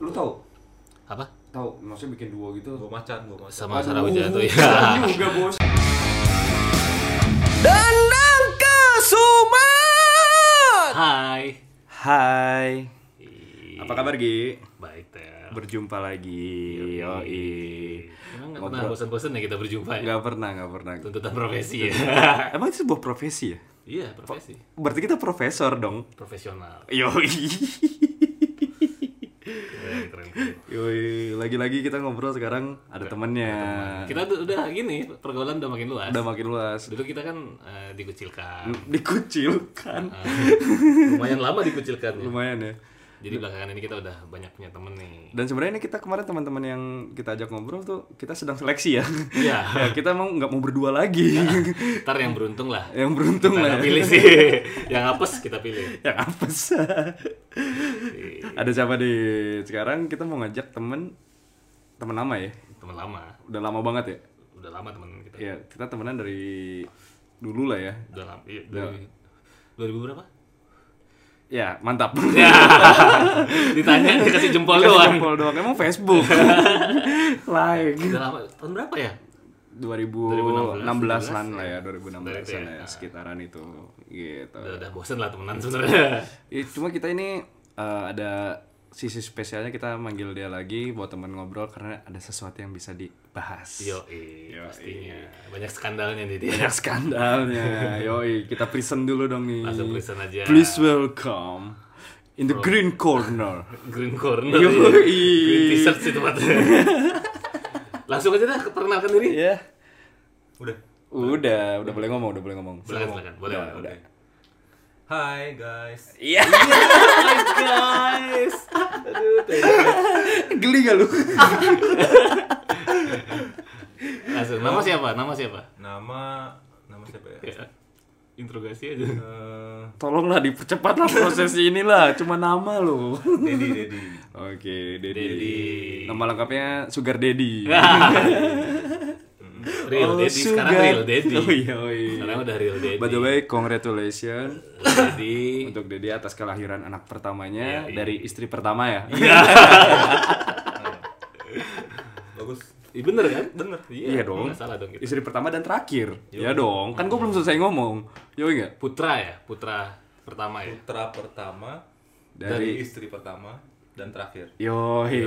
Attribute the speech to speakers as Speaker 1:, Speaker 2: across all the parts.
Speaker 1: Lu tahu?
Speaker 2: Apa?
Speaker 1: Tahu maksudnya bikin duo gitu.
Speaker 3: Gua macan, gua macan.
Speaker 2: Sama Sarah Wijayanto ya.
Speaker 1: Bukan juga bos.
Speaker 4: Danang Kasuma.
Speaker 2: Hai.
Speaker 4: Hai. Apa kabar Gi?
Speaker 2: Baik Ter.
Speaker 4: Berjumpa lagi. Yoi.
Speaker 2: Emang nggak pernah bosan-bosan ya kita berjumpa ya?
Speaker 4: Gak pernah, gak pernah.
Speaker 2: Tuntutan profesi ya.
Speaker 4: Emang itu sebuah profesi ya?
Speaker 2: iya profesi.
Speaker 4: Berarti kita profesor dong.
Speaker 2: Profesional.
Speaker 4: Yoi.
Speaker 2: Keren, keren, keren.
Speaker 4: Yoi. Lagi-lagi kita ngobrol sekarang ada temennya.
Speaker 2: Kita tuh udah gini pergaulan udah makin luas.
Speaker 4: Nah. Udah Hmm. makin luas.
Speaker 2: Dulu kita kan eh, dikucilkan.
Speaker 4: Dikucilkan.
Speaker 2: Eh, lumayan lama dikucilkannya.
Speaker 4: Lumayan ya.
Speaker 2: Jadi belakangan ini kita udah banyak punya temen nih.
Speaker 4: Dan sebenarnya ini kita kemarin teman-teman yang kita ajak ngobrol tuh kita sedang seleksi ya.
Speaker 2: Iya.
Speaker 4: ya kita mau nggak mau berdua lagi.
Speaker 2: Ntar yang beruntung lah.
Speaker 4: yang beruntung
Speaker 2: Kita
Speaker 4: lah.
Speaker 2: nggak
Speaker 4: ya.
Speaker 2: pilih sih. yang apes kita pilih.
Speaker 4: yang apes ada siapa di sekarang kita mau ngajak temen temen lama ya
Speaker 2: Temen lama.
Speaker 4: udah lama banget ya
Speaker 2: Udah lama temen kita.
Speaker 4: ya kita temenan dari dulu lah ya
Speaker 2: Udah lama. Iya, dari 2000 berapa?
Speaker 4: ya mantap
Speaker 2: Ditanya dikasih jempol
Speaker 4: Kasih
Speaker 2: Iya, doang.
Speaker 4: jempol doang emang Facebook like
Speaker 2: Udah lama. Tahun berapa ya?
Speaker 4: 2016 an
Speaker 2: 2016
Speaker 4: lah ya
Speaker 2: Berarti
Speaker 4: 2016 an
Speaker 2: ya.
Speaker 4: ya sekitaran itu gitu
Speaker 2: Udah, udah bosen lah temenan sebenarnya.
Speaker 4: Ya, cuma kita ini eh, ada sisi spesialnya kita manggil dia lagi buat temen ngobrol karena ada sesuatu yang bisa dibahas
Speaker 2: Yo, pastinya. Banyak skandalnya nih dia.
Speaker 4: banyak skandalnya. Yoi, kita present dulu dong nih.
Speaker 2: Langsung present aja.
Speaker 4: Please welcome in the green corner.
Speaker 2: Green corner.
Speaker 4: Yo,
Speaker 2: ya.
Speaker 4: i.
Speaker 2: Green t-shirt sih tempatnya. Langsung aja dah perkenalkan diri.
Speaker 4: Ya.
Speaker 3: Udah.
Speaker 4: Udah, udah boleh ngomong, udah boleh ngomong.
Speaker 2: Silakan, silakan. Boleh,
Speaker 4: Udah,
Speaker 2: boleh.
Speaker 4: udah.
Speaker 3: Hai guys.
Speaker 4: Iya.
Speaker 2: Guys.
Speaker 4: Geli gak lu?
Speaker 2: Langsung. Nama siapa? Nama siapa?
Speaker 3: Nama nama siapa ya?
Speaker 2: Ya. Interogasi aja.
Speaker 3: Eh,
Speaker 4: Tolonglah dipercepatlah proses inilah, cuma nama lu.
Speaker 3: Dedi, Dedi.
Speaker 4: Oke,
Speaker 2: Dedi.
Speaker 4: Dedi. Nama lengkapnya Sugar Dedi.
Speaker 2: real
Speaker 4: Oh,
Speaker 2: Daddy sekarang
Speaker 4: sugar.
Speaker 2: real Daddy.
Speaker 4: Oh, iya, oh, iya.
Speaker 2: Sekarang udah real Daddy.
Speaker 4: By the way, congratulations
Speaker 2: Daddy.
Speaker 4: untuk Dedi atas kelahiran anak pertamanya
Speaker 2: Iya, iya.
Speaker 4: dari istri pertama ya.
Speaker 3: Bagus.
Speaker 2: Ih, bener kan? Bener. Iya,
Speaker 4: Iya dong.
Speaker 2: Nggak salah dong kita.
Speaker 4: Istri pertama dan terakhir. Iya dong. Kan gue belum selesai ngomong. Yo enggak?
Speaker 2: Putra ya, putra pertama ya.
Speaker 3: Putra pertama dari
Speaker 4: Dari
Speaker 3: istri pertama dan terakhir.
Speaker 4: Yoi,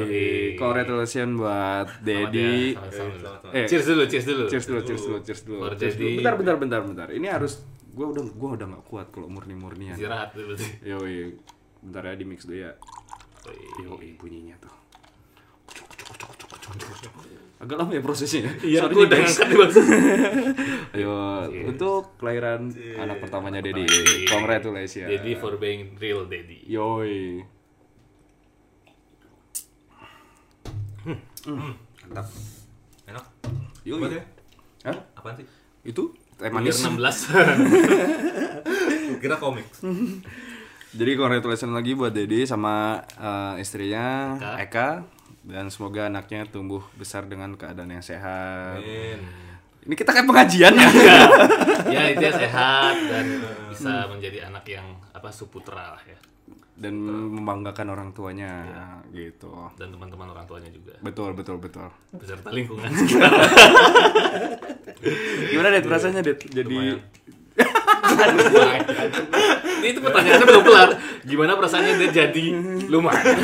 Speaker 4: congratulations buat
Speaker 2: ya,
Speaker 4: Dedi.
Speaker 2: Sama dia,
Speaker 3: Eh,
Speaker 2: sama- sama.
Speaker 3: selamat, selamat.
Speaker 4: Eh,
Speaker 2: Cheers dulu, cheers dulu.
Speaker 4: cheers dulu, cheers dulu, cheers dulu.
Speaker 2: For
Speaker 4: Cheers dulu.
Speaker 2: Dedi.
Speaker 4: Bentar, bentar, bentar, bentar. Ini harus gue udah gua udah nggak kuat kalau murni-murnian.
Speaker 2: Istirahat dulu sih.
Speaker 4: Yoi. Bentar ya di mix dulu ya.
Speaker 2: Wih.
Speaker 4: Yoi, bunyinya tuh. Agak lama ya prosesnya.
Speaker 2: Iya,
Speaker 4: Sorry
Speaker 2: aku
Speaker 4: nih,
Speaker 2: udah
Speaker 4: guys.
Speaker 2: ngangkat nih bang.
Speaker 4: Ayo, untuk kelahiran
Speaker 2: Iya,
Speaker 4: anak pertamanya Dedi. Congratulations.
Speaker 2: Daddy for being real daddy.
Speaker 4: Yoi. Mantap.
Speaker 3: Enak.
Speaker 4: Yoi.
Speaker 3: Apa sih?
Speaker 4: Hah?
Speaker 3: Apaan sih?
Speaker 4: ya? Itu teh
Speaker 2: Year
Speaker 4: manis.
Speaker 2: 16.
Speaker 3: Kira komik.
Speaker 4: Jadi congratulations lagi buat Dedi sama eh, istrinya Eka.
Speaker 2: Eka.
Speaker 4: dan semoga anaknya tumbuh besar dengan keadaan yang sehat.
Speaker 2: Iya.
Speaker 3: Amin.
Speaker 4: Ini kita kan pengajian ya.
Speaker 2: ya, dia sehat dan bisa menjadi anak yang apa suputra lah ya.
Speaker 4: dan membanggakan orang tuanya gitu.
Speaker 2: Dan teman-teman orang tuanya juga.
Speaker 4: Betul, betul, betul.
Speaker 2: Beserta lingkungan.
Speaker 4: Gimana Det rasanya Det jadi
Speaker 2: Ini itu pertanyaannya belum kelar. Gimana perasaannya dia jadi lumayan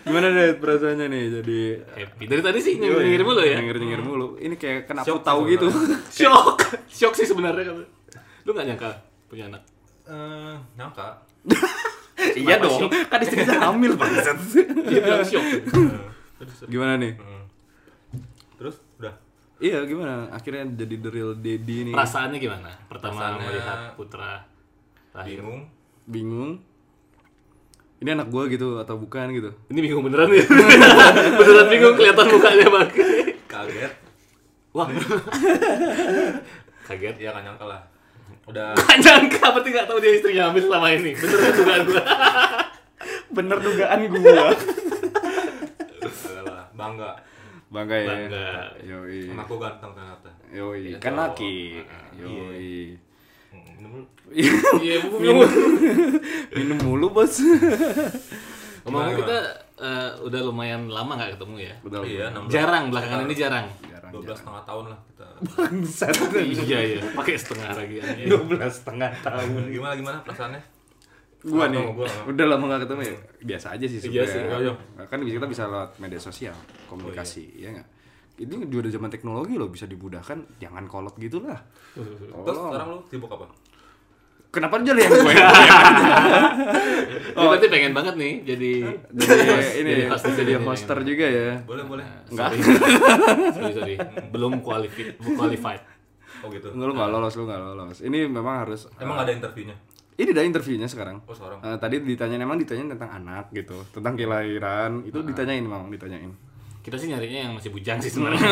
Speaker 4: gimana Det perasaannya nih jadi
Speaker 2: happy. Dari tadi sih nyengir-nyengir mulu ya.
Speaker 4: Nyengir-nyengir mulu. Ini kayak kenapa
Speaker 3: Shock
Speaker 4: tahu
Speaker 3: sih
Speaker 4: gitu.
Speaker 2: Shock. Shock sih sebenarnya kamu. Lu gak nyangka punya anak.
Speaker 3: Eh, nyangka.
Speaker 4: iya
Speaker 2: Kenapa
Speaker 4: dong.
Speaker 2: shock?
Speaker 4: Kan istrinya hamil bangsat.
Speaker 2: Dia bilang shock.
Speaker 4: gimana nih?
Speaker 3: Hmm. Terus udah
Speaker 4: Iya, gimana? Akhirnya jadi the real daddy nih.
Speaker 2: Perasaannya gimana? Pertama
Speaker 3: Perasaannya-
Speaker 2: melihat putra lahir.
Speaker 3: bingung.
Speaker 4: Bingung. Ini anak gua gitu atau bukan gitu.
Speaker 2: Ini bingung beneran ya. beneran bingung kelihatan mukanya bang.
Speaker 3: Kaget.
Speaker 2: Wah. Kaget.
Speaker 3: Ya nggak nyangka lah. Udah
Speaker 2: Gak nyangka, berarti gak tahu dia istrinya hamil selama ini. kan Beneran dugaan
Speaker 4: Bener dugaan
Speaker 2: gua.
Speaker 4: gua.
Speaker 3: udah lah, bangga.
Speaker 4: Bangga ya.
Speaker 2: Bangga.
Speaker 4: Yoi.
Speaker 3: Anakku ganteng ternyata.
Speaker 4: Yoi, kan
Speaker 2: cowok.
Speaker 4: laki. Yoi.
Speaker 3: Hmm, Minum dulu.
Speaker 2: Iya, bingung.
Speaker 4: Minum mulu, Bos.
Speaker 2: Ngomong
Speaker 3: Gimana,
Speaker 2: kita eh, udah lumayan lama nggak ketemu ya.
Speaker 4: Betul.
Speaker 3: Iya, enam belas.
Speaker 2: Jarang belakangan ini jarang.
Speaker 4: Jarang.
Speaker 3: dua belas setengah tahun lah kita.
Speaker 4: Bangsat.
Speaker 2: iya iya, pakai setengah lagi. Iya. anjing.
Speaker 4: 12 setengah tahun.
Speaker 3: Gimana gimana perasaannya?
Speaker 4: Gua
Speaker 3: Sama
Speaker 4: nih.
Speaker 3: gua, sama.
Speaker 4: Udah lama gak ketemu ya. Biasa aja sih
Speaker 3: Iya sih, iya,
Speaker 4: sebenarnya. Kan bisa- kita bisa lewat media sosial, komunikasi, ya enggak? Ini juga udah zaman teknologi loh bisa dimudahkan. Jangan kolot gitu lah.
Speaker 3: Terus
Speaker 4: Tolong.
Speaker 3: sekarang lu sibuk apa?
Speaker 4: Kenapa aja ya? lu yang gue?
Speaker 2: Dia berarti pengen banget nih jadi
Speaker 4: jadi ini
Speaker 2: jadi
Speaker 4: jadi,
Speaker 2: host di sini nih,
Speaker 4: hoster
Speaker 2: pengen.
Speaker 4: juga ya.
Speaker 3: Boleh boleh.
Speaker 2: Enggak. sorry, sorry. Belum qualified, qualified.
Speaker 3: Oh gitu.
Speaker 4: Enggak lu nggak lolos, lu nggak lolos. Ini memang harus eh,
Speaker 3: Emang ada interviewnya?
Speaker 4: ini dah interviewnya sekarang.
Speaker 3: Oh seorang.
Speaker 4: Eh, tadi ditanyain emang ditanyain tentang anak gitu, tentang kelahiran itu ditanyain memang ditanyain.
Speaker 2: Kita sih nyarinya yang masih bujang sih sebenarnya.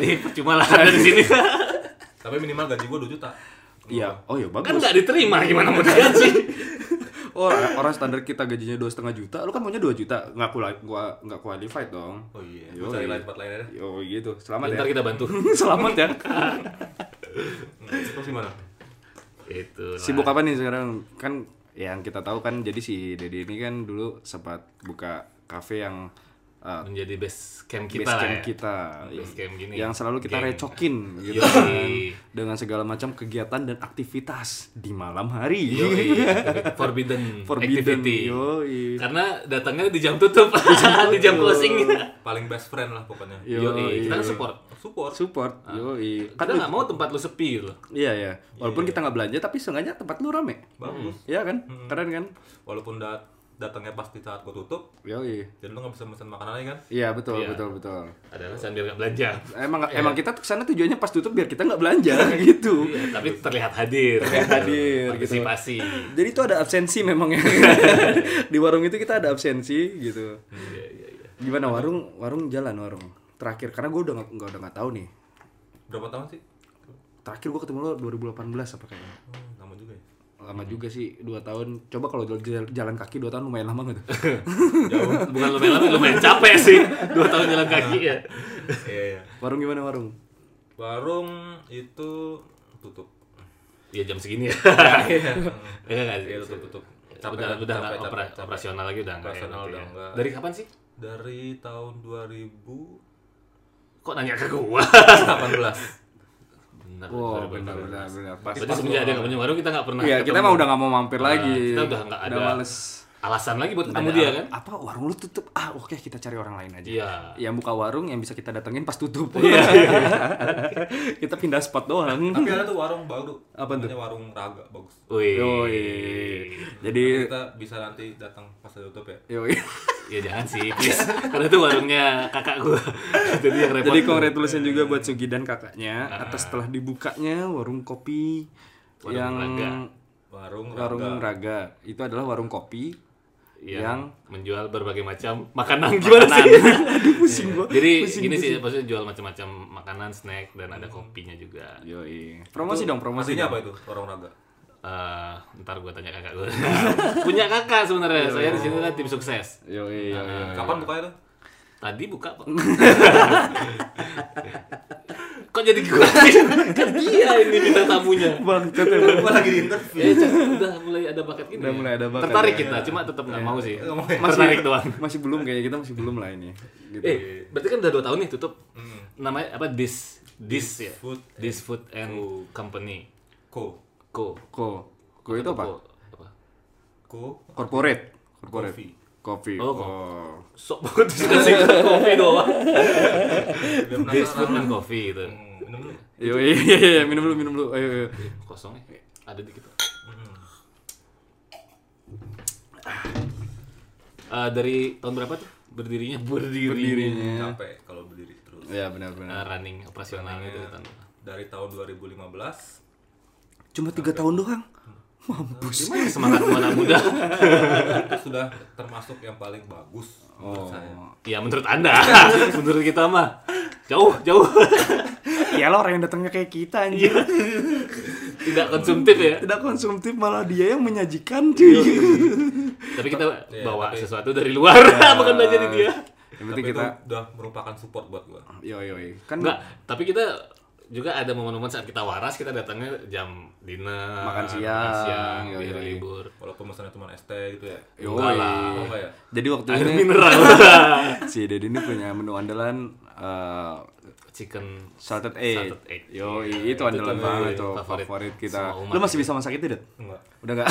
Speaker 2: jadi percuma lah ada di sini.
Speaker 3: Tapi minimal gaji gua 2 juta.
Speaker 4: Iya, oh ya
Speaker 2: kan
Speaker 4: bagus.
Speaker 2: nggak diterima gimana mau digaji?
Speaker 4: Oh, orang orang standar kita gajinya dua setengah juta, lu kan maunya 2 juta, nggak kula, gua nggak qualified dong.
Speaker 3: Oh iya.
Speaker 4: Yoi.
Speaker 3: Gua cari lain tempat lain aja.
Speaker 4: Yo gitu, selamat
Speaker 2: Ntar
Speaker 4: ya.
Speaker 2: kita bantu.
Speaker 4: selamat ya.
Speaker 3: Hmm, Terus gimana?
Speaker 2: Itu.
Speaker 4: Sibuk apa nih sekarang? Kan yang kita tahu kan jadi si Dedi ini kan dulu sempat buka kafe yang uh,
Speaker 2: menjadi base camp kita
Speaker 4: base
Speaker 2: lah
Speaker 4: camp
Speaker 2: ya.
Speaker 4: kita
Speaker 2: Base camp gini.
Speaker 4: yang selalu kita
Speaker 2: Geng.
Speaker 4: recokin gitu
Speaker 2: Yoi.
Speaker 4: kan dengan segala macam kegiatan dan aktivitas di malam hari
Speaker 2: Yoi. forbidden,
Speaker 4: forbidden
Speaker 2: activity.
Speaker 4: yoi
Speaker 2: Karena datangnya di jam tutup, di jam closing.
Speaker 3: Paling best friend lah pokoknya.
Speaker 4: Iya.
Speaker 2: Yoi. Ah. Kita kan support.
Speaker 3: Support.
Speaker 4: support yoi Kan
Speaker 2: Kita nggak mau tempat lu sepi gitu.
Speaker 4: iya ya walaupun kita nggak belanja tapi seenggaknya tempat lu rame
Speaker 3: Bagus.
Speaker 4: Iya kan keren kan
Speaker 3: Walaupun dat datangnya pasti saat gua tutup,
Speaker 4: yoi
Speaker 3: jadi lu nggak bisa pesan makanan lagi kan?
Speaker 4: iya betul
Speaker 2: Iya.
Speaker 4: betul betul
Speaker 2: Adalah sambil nggak belanja.
Speaker 4: emang emang kita kesana tujuannya pas tutup biar kita nggak belanja gitu
Speaker 2: Iya, tapi terlihat hadir.
Speaker 4: Terlihat hadir, gitu.
Speaker 2: Partisipasi.
Speaker 4: Jadi itu ada absensi memang ya. di warung itu kita ada absensi gitu.
Speaker 2: Iya, iya, iya.
Speaker 4: Gimana warung warung jalan warung terakhir karena gue udah nggak nggak- udah nggak tahu nih.
Speaker 3: Berapa tahun sih?
Speaker 4: Terakhir gue ketemu lo 2018 apa kayaknya.
Speaker 3: Oh, lama juga ya.
Speaker 4: Lama juga sih 2 tahun. Coba kalau jal- jal- jalan kaki 2 tahun lumayan lama gitu.
Speaker 3: Jauh.
Speaker 2: Bukan lumayan lama, lumayan capek sih. Dua tahun jalan kaki ya.
Speaker 3: Iya iya.
Speaker 4: warung gimana warung?
Speaker 3: Warung itu tutup.
Speaker 2: Iya jam segini ya. Iya nggak sih?
Speaker 3: Iya tutup tutup. Capek,
Speaker 2: udah kan?
Speaker 3: capek,
Speaker 2: udah nggak
Speaker 3: capek,
Speaker 2: opera-
Speaker 3: capek.
Speaker 2: operasional lagi udah nggak. ya,
Speaker 3: Operasional
Speaker 2: berarti
Speaker 3: udah
Speaker 2: ya.
Speaker 3: nggak.
Speaker 2: Dari kapan sih?
Speaker 3: Dari tahun 2018.
Speaker 2: Kok nanya ke gua? Benar.
Speaker 4: Wow, benar
Speaker 2: benar, benar.
Speaker 4: benar benar pas.
Speaker 2: Berarti semenjak dia nggak punya warung kita nggak pernah.
Speaker 4: Iya, kita
Speaker 2: Nah, ketemu. Nah,
Speaker 4: mah udah nggak mau mampir lagi.
Speaker 2: kita udah nggak ada
Speaker 4: males.
Speaker 2: alasan lagi buat ketemu dia kan?
Speaker 4: Apa warung lu tutup? Ah, oke kita cari orang lain aja.
Speaker 2: Iya.
Speaker 4: yang buka warung yang bisa kita datengin pas tutup. kita pindah spot doang.
Speaker 3: Tapi ada tuh warung baru.
Speaker 4: Apa tuh?
Speaker 3: Namanya warung raga bagus.
Speaker 2: Wih.
Speaker 4: Yoi. Jadi
Speaker 3: Kita bisa nanti datang pas ada tutup ya.
Speaker 4: yoi.
Speaker 2: Ya jangan sih, please. Karena itu warungnya kakak gua. Jadi yang repot.
Speaker 4: Jadi congratulations juga buat Sugi dan kakaknya atas telah dibukanya warung kopi
Speaker 2: Nah. Warung
Speaker 4: yang
Speaker 2: Raga.
Speaker 3: Warung raga.
Speaker 4: warung raga. Itu adalah warung kopi
Speaker 2: yang,
Speaker 4: yang
Speaker 2: menjual berbagai macam makanan gimana sih?
Speaker 4: Aduh pusing Hmm. gua.
Speaker 2: Jadi gini sih maksudnya jual macam-macam makanan, snack dan ada kopinya juga.
Speaker 4: Yoi. Promosi dong, promosi.
Speaker 3: Aslinya
Speaker 4: dong.
Speaker 3: apa itu? Warung raga.
Speaker 2: Eh, ntar gue tanya kakak gue. Punya kakak sebenarnya.
Speaker 4: Iya,
Speaker 2: Saya di sini kan tim sukses.
Speaker 4: Yoi, yoi.
Speaker 2: nah,
Speaker 3: Kapan bukanya tuh?
Speaker 2: Tadi buka Pak. Kok jadi gue sih?
Speaker 4: Iya,
Speaker 2: Kan dia ini bintang tamunya.
Speaker 4: Bangkat emang.
Speaker 3: Gua lagi di interview.
Speaker 2: Ya, c- udah mulai ada bakat ini.
Speaker 4: Iya. Udah mulai ada bakat,
Speaker 2: Tertarik
Speaker 4: ya.
Speaker 2: kita, cuma tetap nggak mau sih.
Speaker 3: Nggak mau ya.
Speaker 2: Tertarik
Speaker 4: Iya.
Speaker 2: doang.
Speaker 4: Masih belum kayaknya kita masih belum lah ini. Gitu.
Speaker 2: Eh, berarti kan udah 2 tahun nih tutup.
Speaker 3: Hmm.
Speaker 2: Namanya apa? This This ya.
Speaker 3: Food
Speaker 2: This Food and Company
Speaker 3: Ko.
Speaker 2: Co.
Speaker 4: Ko. Ko itu apa?
Speaker 2: Co. Apa?
Speaker 3: Ko.
Speaker 4: Corporate. Corporate.
Speaker 3: Coffee.
Speaker 4: Kopi.
Speaker 2: Oh, ko-
Speaker 4: Oh.
Speaker 2: Sok banget dikasih kopi doang.
Speaker 3: Biar
Speaker 2: This
Speaker 3: penasaran.
Speaker 2: Food and Coffee itu.
Speaker 3: Hmm, Minum dulu.
Speaker 4: Yo, iya, iya, iya, minum dulu, minum dulu. Ayo, ayo.
Speaker 2: Kosong ya? Ada dikit. Hmm. Eh, dari tahun berapa tuh berdirinya? Berdirinya.
Speaker 4: Berdirinya.
Speaker 3: Capek kalau berdiri terus.
Speaker 4: Ya, benar-benar.
Speaker 2: Eh, running ya. operasionalnya itu tahun berapa?
Speaker 3: Dari tahun 2015
Speaker 4: Cuma tiga tahun doang. Mampus.
Speaker 2: Gimana semangat gua anak muda?
Speaker 3: itu sudah termasuk yang paling bagus menurut
Speaker 4: Oh.
Speaker 3: saya.
Speaker 2: ya menurut anda, menurut kita mah jauh jauh
Speaker 4: Ya lo orang yang datangnya kayak kita anjir.
Speaker 2: tidak konsumtif ya.
Speaker 4: Tidak Iya, konsumtif malah dia yang menyajikan cuy.
Speaker 2: Tapi kita
Speaker 3: Iya,
Speaker 2: bawa
Speaker 3: tapi-
Speaker 2: sesuatu dari luar, bukan belajar dari dia.
Speaker 4: Yang
Speaker 3: Tapi
Speaker 4: penting
Speaker 3: itu
Speaker 4: kita
Speaker 3: udah merupakan support buat gua.
Speaker 4: yo yo. Kan
Speaker 2: Enggak, tapi kita juga ada momen-momen saat kita waras kita datangnya jam dinner
Speaker 4: Makan siang, iya,
Speaker 2: siang, di
Speaker 4: yoi,
Speaker 2: hari
Speaker 4: yoi.
Speaker 2: libur
Speaker 3: Walaupun pesannya cuma es teh gitu ya.
Speaker 4: Yoi.
Speaker 3: Enggak lah. Oh, enggak ya?
Speaker 4: Jadi waktu
Speaker 2: air
Speaker 4: ini
Speaker 2: mineral
Speaker 4: si Deddy ini punya menu andalan eh,
Speaker 2: chicken
Speaker 4: salted egg.
Speaker 2: Salted egg.
Speaker 4: Yo, itu andalan
Speaker 3: tuh,
Speaker 4: banget
Speaker 3: iya,
Speaker 4: itu
Speaker 2: favorit
Speaker 4: favorit, kita.
Speaker 2: semua umat. Hmm.
Speaker 4: Lu masih bisa masak itu, Ded?
Speaker 3: Enggak.
Speaker 4: Udah enggak?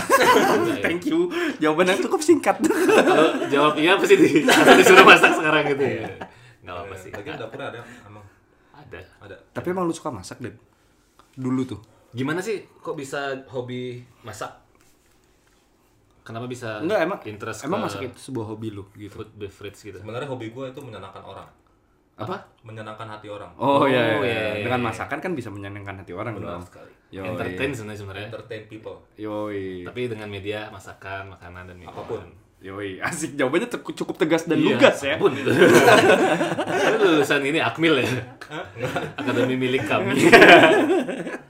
Speaker 4: Thank you. Jawabannya cukup singkat.
Speaker 2: kalau jawab iya pasti di, atau disuruh masak sekarang gitu
Speaker 4: Iya.
Speaker 2: ya nggak apa-apa sih
Speaker 3: Lagi dapurnya ada emang
Speaker 2: ada
Speaker 3: ada.
Speaker 4: Tapi emang lu suka masak, Ded? Dulu tuh.
Speaker 2: gimana sih kok bisa hobi masak kenapa bisa
Speaker 4: Enggak, emang
Speaker 2: Eh, interest
Speaker 4: emang
Speaker 2: ke
Speaker 4: masak itu sebuah hobi lu gitu.
Speaker 2: food beverage gitu
Speaker 3: Sebenarnya hobi gue itu menyenangkan orang,
Speaker 2: apa
Speaker 3: menyenangkan hati orang.
Speaker 4: Oh, iya, iya,
Speaker 2: Oh, iya, iya.
Speaker 4: dengan masakan kan bisa menyenangkan hati orang
Speaker 3: Benar
Speaker 4: dong.
Speaker 3: sekali.
Speaker 4: Yoi.
Speaker 2: entertain sebenarnya sebenarnya
Speaker 3: Entertain people.
Speaker 4: Yoi.
Speaker 2: tapi dengan media masakan makanan dan minuman
Speaker 3: Apapun.
Speaker 4: Yoi, asik jawabannya te- cukup tegas dan
Speaker 2: Iya,
Speaker 4: lugas ya.
Speaker 2: apapun. Tapi lulusan ini akmil ya akademi milik kami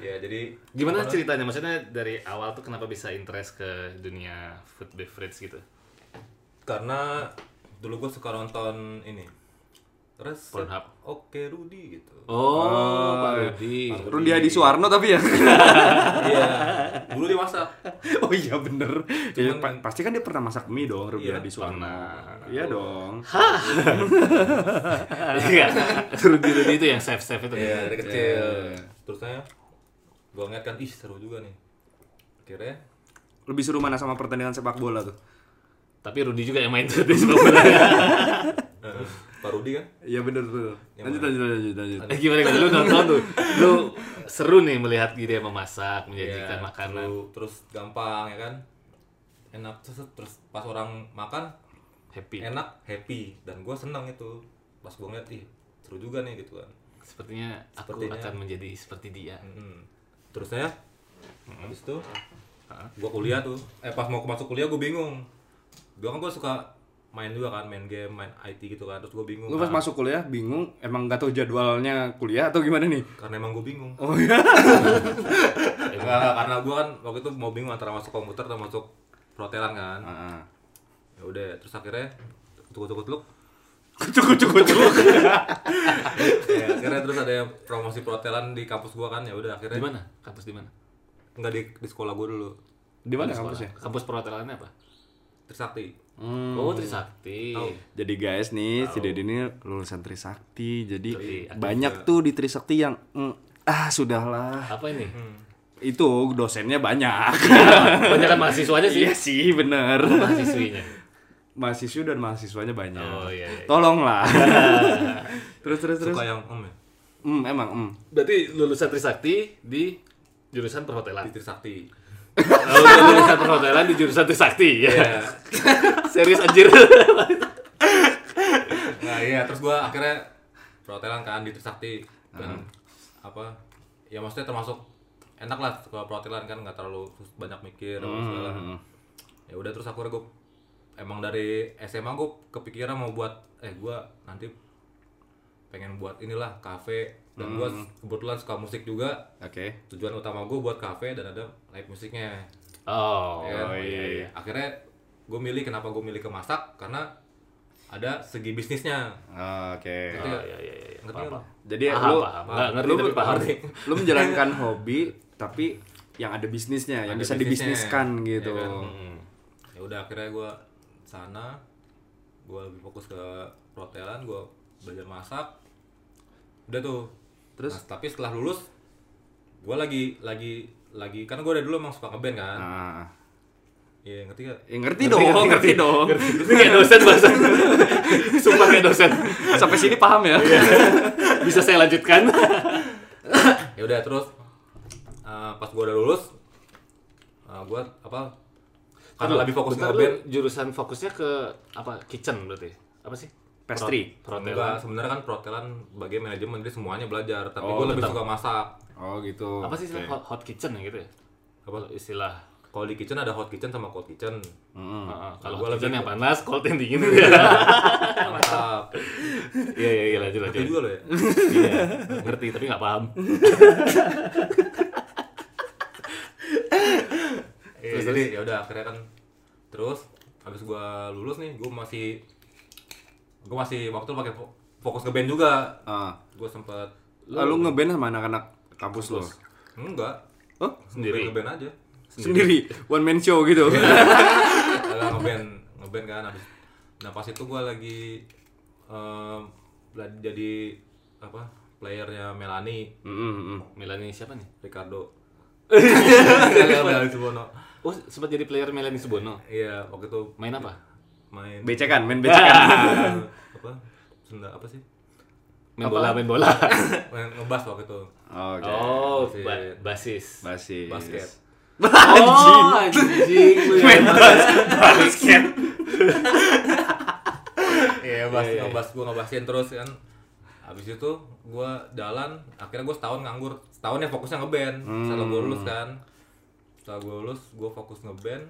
Speaker 3: Ya jadi
Speaker 2: gimana ceritanya maksudnya dari awal tuh kenapa bisa interest ke dunia food beverage gitu
Speaker 3: karena dulu gue suka nonton ini resep
Speaker 2: Pornhub.
Speaker 3: Oke Rudy gitu.
Speaker 2: oh, Pak Rudi
Speaker 4: Rundi
Speaker 2: iya.
Speaker 4: Adi Suwarno tapi ya.
Speaker 3: Iya. dulu di WhatsApp.
Speaker 4: oh iya bener. Ya,
Speaker 3: Cuman-
Speaker 4: pa- pasti kan dia pernah masak mie dong Rundi
Speaker 3: Iya,
Speaker 4: Adi Suwarno.
Speaker 2: pernah.
Speaker 4: Iya dong.
Speaker 2: Iya. Rudi Rudi itu yang safe safe itu.
Speaker 3: Iya dari kecil.
Speaker 4: Iya.
Speaker 3: Terus saya gue ngeliat kan ih seru juga nih. Akhirnya
Speaker 4: Lebih seru mana sama pertandingan sepak bola tuh?
Speaker 2: Tapi Rudi juga yang main tuh di sepak bola.
Speaker 3: eh, Pak Rudy kan
Speaker 4: Iya bener tuh. Lanjut lanjut lanjut lanjut.
Speaker 2: Eh, Gimana gimana? lu nonton tuh? Lu seru nih melihat dia memasak, menyajikan
Speaker 3: Iya,
Speaker 2: makanan.
Speaker 3: seru, terus gampang ya kan enak terus terus pas orang makan
Speaker 2: Happy.
Speaker 3: enak happy dan gue senang itu pas gue ngeliat ih seru juga nih gitu kan
Speaker 2: Sepertinya aku
Speaker 3: Sepertinya.
Speaker 2: akan menjadi seperti dia.
Speaker 3: Mm-mm. terus saya habis itu gue kuliah tuh eh pas mau masuk kuliah gue bingung gue kan gue suka main juga kan main game main IT gitu kan terus gue bingung
Speaker 4: Lu pas
Speaker 3: kan.
Speaker 4: masuk kuliah bingung emang gak tahu jadwalnya kuliah atau gimana nih?
Speaker 3: karena emang gue bingung Eh,
Speaker 4: Oh iya.
Speaker 3: Enggak, enggak, karena gue kan waktu itu mau bingung antara masuk komputer atau masuk perhotelan kan
Speaker 4: Heeh.
Speaker 3: ya udah terus akhirnya kutuk-kutuk
Speaker 4: Cukup cukup cukup.
Speaker 3: ya, akhirnya terus ada yang promosi perhotelan di kampus gua kan ya
Speaker 2: Di
Speaker 3: udah akhirnya
Speaker 2: mana? Kampus di mana?
Speaker 3: nggak di, di sekolah gua dulu
Speaker 4: Di mana
Speaker 2: Sekolah.
Speaker 4: kampusnya?
Speaker 2: Kampus perhotelannya apa?
Speaker 3: Trisakti
Speaker 2: Oh, Trisakti.
Speaker 4: Jadi guys nih, si Deddy ini lulusan Trisakti. Jadi
Speaker 2: Yoi,
Speaker 4: banyak tuh di Trisakti yang mm, ah sudahlah.
Speaker 2: Apa ini?
Speaker 4: Itu dosennya banyak.
Speaker 2: Banyak kan mahasiswanya sih.
Speaker 4: iya sih, bener.
Speaker 2: Mahasiswinya.
Speaker 4: Mahasiswa dan mahasiswanya banyak.
Speaker 2: Oh, iya, iya.
Speaker 4: Tolonglah. terus terus terus.
Speaker 3: suka yang em ya?
Speaker 4: Hmm, emang hmm.
Speaker 2: Berarti lulusan Trisakti di jurusan perhotelan.
Speaker 3: di Trisakti
Speaker 2: Lalu dia jurusan Oh, perhotelan di jurusan Trisakti ya.
Speaker 3: Iya.
Speaker 2: Serius anjir.
Speaker 3: nah iya terus gua akhirnya perhotelan kan di Trisakti
Speaker 2: Hmm.
Speaker 3: dan apa ya maksudnya termasuk enak lah sekolah perhotelan kan nggak terlalu sus- banyak mikir apa
Speaker 2: Hmm,
Speaker 3: segala ya udah terus akhirnya gua emang dari SMA gua kepikiran mau buat eh gua nanti pengen buat inilah kafe dan gua
Speaker 2: Hmm.
Speaker 3: kebetulan suka musik juga
Speaker 4: Oke.
Speaker 3: tujuan utama gue buat kafe dan ada live musiknya
Speaker 2: Oh,
Speaker 3: ya kan?
Speaker 2: iya, iya.
Speaker 3: akhirnya gue milih kenapa gue milih ke masak karena ada segi bisnisnya
Speaker 4: Oke.
Speaker 2: Oh, iya, iya, iya.
Speaker 3: Ngerti kan?
Speaker 2: Paham,
Speaker 3: nggak?
Speaker 2: paham.
Speaker 4: Jadi
Speaker 2: paham,
Speaker 4: lu
Speaker 2: paham. Nggak ngerti
Speaker 4: lu-
Speaker 2: tapi paham.
Speaker 4: Lu menjalankan hobi tapi yang ada bisnisnya, yang
Speaker 3: Ada
Speaker 4: bisa
Speaker 3: bisnisnya,
Speaker 4: dibisniskan
Speaker 3: ya
Speaker 4: gitu.
Speaker 3: kan?
Speaker 2: Hmm.
Speaker 3: ya udah akhirnya gue sana gue lebih fokus ke perhotelan gue belajar masak udah tuh terus tapi setelah lulus gue lagi lagi lagi karena gue dari dulu emang suka ngeband kan
Speaker 2: Ah.
Speaker 4: Nah.
Speaker 3: iya ngerti gak
Speaker 4: Ya, ngerti, dong, ngerti dong.
Speaker 2: Ini kayak dosen bahasa. Sumpah kayak dosen. Iya.
Speaker 4: Sampai sini paham ya?
Speaker 2: Bisa saya lanjutkan?
Speaker 3: ya udah terus eh, pas gua udah lulus eh, gua apa karena lebih fokus ke
Speaker 2: Bentar,
Speaker 3: band
Speaker 2: lu jurusan fokusnya ke apa? Kitchen berarti. Apa sih?
Speaker 4: Pastry.
Speaker 2: Perho-
Speaker 3: enggak
Speaker 2: Perhotelan.
Speaker 3: sebenarnya kan perhotelan bagian manajemen jadi semuanya belajar tapi
Speaker 4: Oh,
Speaker 3: gua lebih
Speaker 2: tetap.
Speaker 3: suka masak
Speaker 4: Oh gitu.
Speaker 2: Apa sih istilah hot, hot kitchen ya gitu ya?
Speaker 3: Apa?
Speaker 2: istilah?
Speaker 3: kalau di kitchen ada hot kitchen sama cold kitchen
Speaker 2: Heeh, kalau hot
Speaker 3: Gua
Speaker 2: kitchen
Speaker 3: lebih- Iya.
Speaker 2: yang panas, cold yang dingin ya.
Speaker 3: mantap
Speaker 2: Iya, iya, iya, lanjut,
Speaker 3: itu
Speaker 2: lanjut.
Speaker 3: juga loh ya
Speaker 2: Iya, ngerti tapi nggak paham.
Speaker 3: Iya, jadi ya udah akhirnya kan terus habis gua lulus nih gua masih gua masih waktu itu pakai fo- fokus ke band juga
Speaker 4: Ah,
Speaker 3: gue sempet
Speaker 4: Lalu ngeband sama anak-anak kampus lo?
Speaker 3: Enggak.
Speaker 4: Oh,
Speaker 2: Sendiri.
Speaker 3: Ngeband aja.
Speaker 4: sendiri. One man show gitu.
Speaker 3: Ada ngeband, ngeband kan habis. Nah, pas itu gua lagi em, bela- jadi apa? Playernya Melani,
Speaker 4: Mm, mm, mm.
Speaker 2: Melani siapa nih?
Speaker 3: Ricardo.
Speaker 2: Melani.
Speaker 3: Subono.
Speaker 2: Oh, sempat jadi player Melani Subono.
Speaker 3: Iya, waktu itu
Speaker 2: Main apa?
Speaker 3: main
Speaker 4: Becekan, main becekan.
Speaker 3: Eh, apa? Senda apa sih?
Speaker 2: Main bola, main bola.
Speaker 3: Main ngebas waktu itu.
Speaker 4: Oke.
Speaker 2: Oh,
Speaker 3: Basis.
Speaker 2: ba- basis.
Speaker 4: Basis.
Speaker 3: Basket.
Speaker 2: Oh, anjing. lu ya.
Speaker 4: Basket.
Speaker 3: Iya, ngebas,
Speaker 2: Iya, iya.
Speaker 3: ngebas gua ngebasin terus kan. Habis itu gua jalan, akhirnya gua setahun nganggur. Setahun ya fokusnya ngeband. Setelah gua lulus
Speaker 2: Hmm.
Speaker 3: kan. Setelah gua lulus, gua fokus ngeband.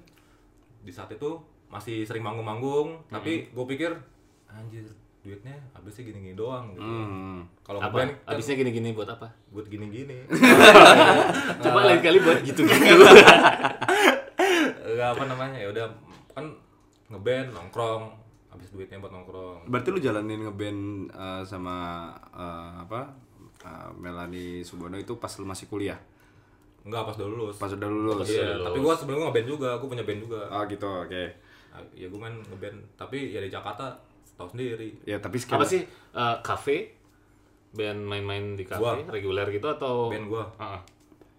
Speaker 3: Di saat itu masih sering manggung-manggung,
Speaker 2: Hmm.
Speaker 3: tapi gua pikir anjir, duitnya habisnya gini-gini doang gitu.
Speaker 4: Hmm.
Speaker 3: Kalau
Speaker 2: Apa?
Speaker 3: ngeband kan
Speaker 2: Abisnya gini-gini buat apa?
Speaker 3: buat gini-gini.
Speaker 2: Coba lain kali buat gitu-gitu.
Speaker 3: Enggak apa namanya? Ya udah kan ngeband nongkrong, habis duitnya buat nongkrong.
Speaker 4: Berarti lu jalanin ngeband eh, sama eh, apa? eh, Melanie Subono itu pas lu masih kuliah.
Speaker 3: Enggak pas udah lulus.
Speaker 4: Pas udah lulus.
Speaker 3: Iya, tapi gua sebelumnya ngeband juga, gua punya band juga.
Speaker 4: Oh gitu, oke.
Speaker 3: Nah, ya gue main ngeband tapi ya di Jakarta tahu sendiri
Speaker 4: Ya tapi skena
Speaker 2: apa sih? Eh, Cafe? Band main-main di
Speaker 3: Gua.
Speaker 2: cafe reguler gitu atau?
Speaker 3: band gue
Speaker 2: Heeh.